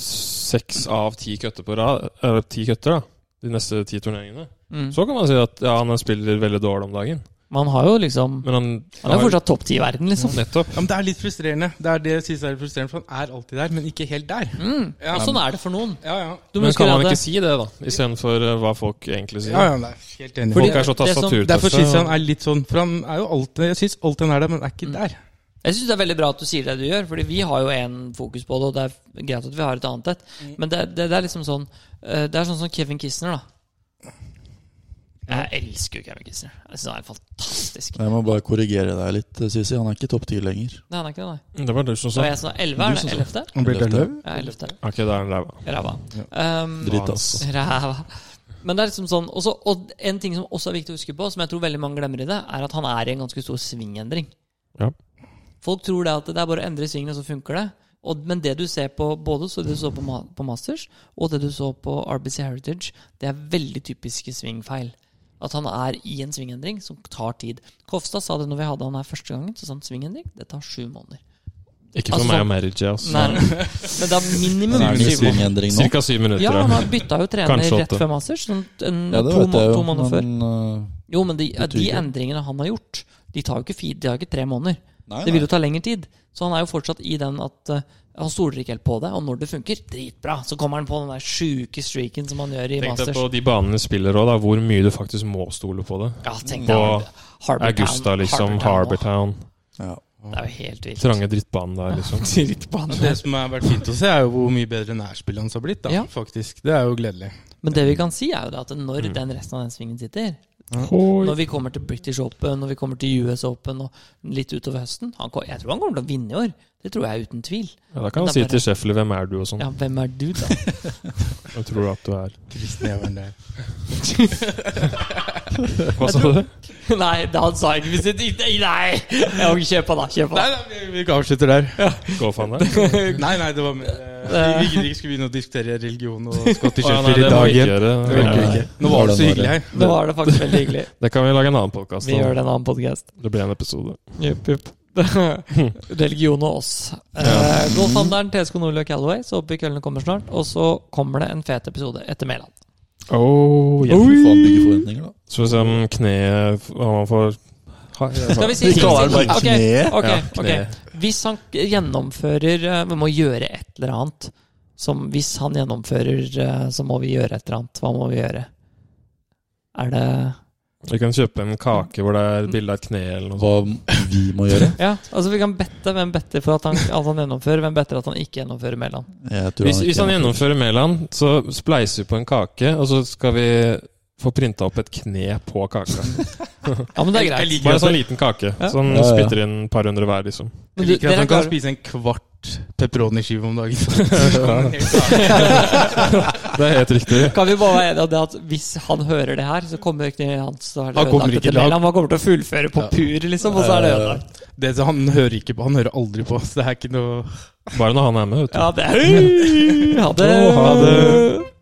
[SPEAKER 3] seks av ti køtter på rad, eller ti køtter, da, de neste ti turneringene,
[SPEAKER 1] Mm.
[SPEAKER 3] så kan man si at ja, han spiller veldig dårlig om dagen.
[SPEAKER 1] Man har jo liksom
[SPEAKER 3] Men han,
[SPEAKER 1] Han er jo fortsatt topp ti i verden, liksom.
[SPEAKER 3] Nettopp.
[SPEAKER 4] ja, men Det er litt frustrerende. Det er det jeg synes er litt frustrerende, for han er alltid der, men ikke helt der.
[SPEAKER 1] Mm.
[SPEAKER 4] Ja.
[SPEAKER 1] Og sånn er det for noen.
[SPEAKER 4] Ja, ja.
[SPEAKER 1] Du må
[SPEAKER 3] Men
[SPEAKER 1] huske
[SPEAKER 3] kan man
[SPEAKER 1] at
[SPEAKER 3] ikke
[SPEAKER 1] det-
[SPEAKER 3] si det, da? Istedenfor uh, hva folk egentlig sier.
[SPEAKER 4] ja, ja nei, helt enig.
[SPEAKER 1] Fordi-
[SPEAKER 3] folk er så
[SPEAKER 1] det som-
[SPEAKER 3] tastaturtøffe.
[SPEAKER 4] Derfor syns jeg han
[SPEAKER 3] og-
[SPEAKER 4] er litt sånn For han er jo alltid Jeg synes alltid han er der, men
[SPEAKER 1] Mm.
[SPEAKER 4] er ikke der.
[SPEAKER 1] Jeg syns det er veldig bra at du sier det du gjør, Fordi vi har jo én fokus på det, og det er greit at vi har et annet et. Men det, det, det er liksom sånn eh, Det er sånn som Kevin Kisner, da. Jeg elsker jo Kevin Kisner. Jeg syns han er fantastisk.
[SPEAKER 2] Jeg må bare korrigere deg litt, eh, Sisi. Han er ikke topp ti lenger.
[SPEAKER 1] Nei, han er ikke det, nei.
[SPEAKER 3] Mm, Det var du som
[SPEAKER 1] Så
[SPEAKER 3] sa.
[SPEAKER 1] jeg som er 11,
[SPEAKER 2] Du
[SPEAKER 1] er
[SPEAKER 2] som
[SPEAKER 1] det
[SPEAKER 2] sa.
[SPEAKER 1] 11.?
[SPEAKER 4] Han blir
[SPEAKER 2] Ellevte.
[SPEAKER 4] dølløv.
[SPEAKER 1] Ja, 11.
[SPEAKER 3] Ok, da er han ræva.
[SPEAKER 1] Ræva. Um,
[SPEAKER 2] Dritt, ass.
[SPEAKER 1] Ræva. Men det er liksom sånn også, Og en ting som også er viktig å huske på, som jeg tror veldig mange glemmer i det, er at han er i en ganske stor svingendring.
[SPEAKER 3] Ja.
[SPEAKER 1] Folk tror det at det er bare å endre svingen, og så funker det. Og, men det du ser på både så det du så på, ma- på Masters og det du så på RBC Heritage, det er veldig typiske svingfeil. At han er i en svingendring som tar tid. Kofstad sa det når vi hadde han her første gangen. Så sa han svingendring, det tar sju måneder.
[SPEAKER 3] Ikke
[SPEAKER 1] Altså,
[SPEAKER 3] for
[SPEAKER 1] sånn-
[SPEAKER 3] meg og Merigi, ass.
[SPEAKER 1] Nei, men det er minimum
[SPEAKER 2] Han er det
[SPEAKER 1] syv
[SPEAKER 2] i
[SPEAKER 1] måneder.
[SPEAKER 2] svingendring nå.
[SPEAKER 3] Cirka syv minutter.
[SPEAKER 1] Ja,
[SPEAKER 3] Ja,
[SPEAKER 1] han
[SPEAKER 3] (laughs)
[SPEAKER 1] har bytta jo trener
[SPEAKER 3] Kanskje
[SPEAKER 1] rett
[SPEAKER 3] åtte.
[SPEAKER 1] før Masters. Sånn, en,
[SPEAKER 2] Ja, det
[SPEAKER 1] to,
[SPEAKER 2] vet jeg
[SPEAKER 1] må-
[SPEAKER 2] jo,
[SPEAKER 1] to måneder før.
[SPEAKER 2] men øh,
[SPEAKER 1] Jo, men de,
[SPEAKER 2] betyr
[SPEAKER 1] de
[SPEAKER 2] ikke-
[SPEAKER 1] endringene han har gjort, de tar jo ikke, fi- de tar ikke tre måneder.
[SPEAKER 2] Nei,
[SPEAKER 1] Det
[SPEAKER 2] nei.
[SPEAKER 1] vil jo ta lengre tid. Så han er jo fortsatt i den at eh, han stoler ikke helt på det. Og når det funker, dritbra. Så kommer han på den der sjuke streaken som han gjør i
[SPEAKER 3] Tenk deg
[SPEAKER 1] Masters.
[SPEAKER 3] på de banene de spiller òg, da. Hvor mye du faktisk må stole på det.
[SPEAKER 1] Ja, tenk
[SPEAKER 3] på
[SPEAKER 1] deg Har- Harbour Town-
[SPEAKER 3] Augusta, liksom.
[SPEAKER 1] Harbour Town
[SPEAKER 3] Harbortown.
[SPEAKER 2] eh, Ja.
[SPEAKER 1] nå. Det er jo helt vilt.
[SPEAKER 3] Trange drittbanen der, liksom.
[SPEAKER 1] (laughs) Drittbane.
[SPEAKER 2] (laughs)
[SPEAKER 4] Det som har vært fint å se, er jo hvor mye bedre nærspillet hans har blitt. da,
[SPEAKER 1] Ja.
[SPEAKER 4] faktisk. Det er jo gledelig.
[SPEAKER 1] Men det vi kan si, er jo det at
[SPEAKER 2] Mm.
[SPEAKER 1] når den resten av den svingen sitter Når vi kommer til British Open, når vi kommer til US Open og litt utover høsten han, kom- Jeg tror han kommer til å vinne i år. Det tror jeg uten tvil.
[SPEAKER 3] Ja, da
[SPEAKER 1] Men
[SPEAKER 3] kan han
[SPEAKER 1] det
[SPEAKER 3] si
[SPEAKER 1] er bare-
[SPEAKER 3] til Sheffield 'Hvem er du?' og sånn.
[SPEAKER 1] Ja, hvem er du, da?
[SPEAKER 3] Jeg tror at du er
[SPEAKER 4] Kristneveren der.
[SPEAKER 3] Hva sa du?
[SPEAKER 1] (laughs) nei, det han sa ikke hvis det Nei! nei. Ja, ok, kjør på, da. Kjør på.
[SPEAKER 4] Nei, nei, vi- vi avslutter der.
[SPEAKER 3] (laughs) Gå faen deg. Å,
[SPEAKER 4] Nei, nei, det var mer eh, Vi gidder ikke skulle begynne å diskutere religion og Scottish
[SPEAKER 3] ja,
[SPEAKER 4] Sheffield
[SPEAKER 3] nei,
[SPEAKER 4] i
[SPEAKER 3] det må
[SPEAKER 4] dag
[SPEAKER 3] vi ikke
[SPEAKER 4] igjen.
[SPEAKER 3] gjøre.
[SPEAKER 4] Det orker vi ikke. Nå var det så hyggelig her.
[SPEAKER 1] Nå var det faktisk veldig (laughs) hyggelig.
[SPEAKER 3] Det kan vi lage en annen podkast
[SPEAKER 1] Vi gjør
[SPEAKER 3] om.
[SPEAKER 1] det i en annen podkast.
[SPEAKER 3] Det blir en episode.
[SPEAKER 1] Jupp, jupp. (laughs) Religion og oss. Eh, Golfhandleren TSK Nordløk Callaway, så håper vi køllene kommer snart. Og så kommer det en fet episode etter Mæland.
[SPEAKER 3] Oh,
[SPEAKER 2] Jeg får faen bygge forventninger, da.
[SPEAKER 3] Så hvis um, kneet Om han får
[SPEAKER 1] Skal vi si
[SPEAKER 2] Vi kaller det bare
[SPEAKER 1] Ok,
[SPEAKER 2] kneet.
[SPEAKER 1] ok,
[SPEAKER 3] Ja,
[SPEAKER 1] ok.
[SPEAKER 3] kneet.
[SPEAKER 1] Hvis han gjennomfører eh, Vi må gjøre et eller annet. Som hvis han gjennomfører, eh, så må vi gjøre et eller annet. Hva må vi gjøre? Er det
[SPEAKER 3] Vi kan kjøpe en kake hvor det er bilde av et kne eller noe sånt.
[SPEAKER 2] Hva vi må gjøre?
[SPEAKER 1] Ja, altså vi kan bette. Hvem better for at han, at han gjennomfører? Hvem better at han ikke gjennomfører Mæland?
[SPEAKER 2] Jeg tror
[SPEAKER 3] Hvis, hvis han
[SPEAKER 2] ikke-
[SPEAKER 3] gjennomfører Mæland, så spleiser vi på en kake, og så skal vi få printa opp et kne på kaka.
[SPEAKER 1] Ja, men det er
[SPEAKER 4] Jeg
[SPEAKER 1] greit.
[SPEAKER 4] liker
[SPEAKER 3] Bare
[SPEAKER 4] at
[SPEAKER 3] sånn liten kake.
[SPEAKER 1] Ja.
[SPEAKER 3] Sånn
[SPEAKER 2] Ja, ja.
[SPEAKER 3] spytter inn et par hundre hver, (laughs) liksom.
[SPEAKER 1] Men
[SPEAKER 4] Jeg
[SPEAKER 1] du-
[SPEAKER 4] liker at
[SPEAKER 1] dere
[SPEAKER 4] han kan
[SPEAKER 1] klarer- (laughs)
[SPEAKER 4] spise en kvart pepperoniskive om dagen. (laughs)
[SPEAKER 3] Det er helt riktig.
[SPEAKER 1] Kan vi bare være enige om det at hvis han hører det her, så kommer ikke hans så er det
[SPEAKER 4] Han kommer
[SPEAKER 1] ødelagt etter
[SPEAKER 4] ikke til å-
[SPEAKER 1] Mæland. Han kommer til å fullføre på
[SPEAKER 4] Ja.
[SPEAKER 1] pur, liksom, og så er det
[SPEAKER 2] Eh,
[SPEAKER 1] ødelagt.
[SPEAKER 4] Det, så han hører ikke på. Han hører aldri på, så det er ikke noe
[SPEAKER 3] Bare når han er med, vet du.
[SPEAKER 1] Ja, det er (laughs) Ha det.
[SPEAKER 3] Å, ha det.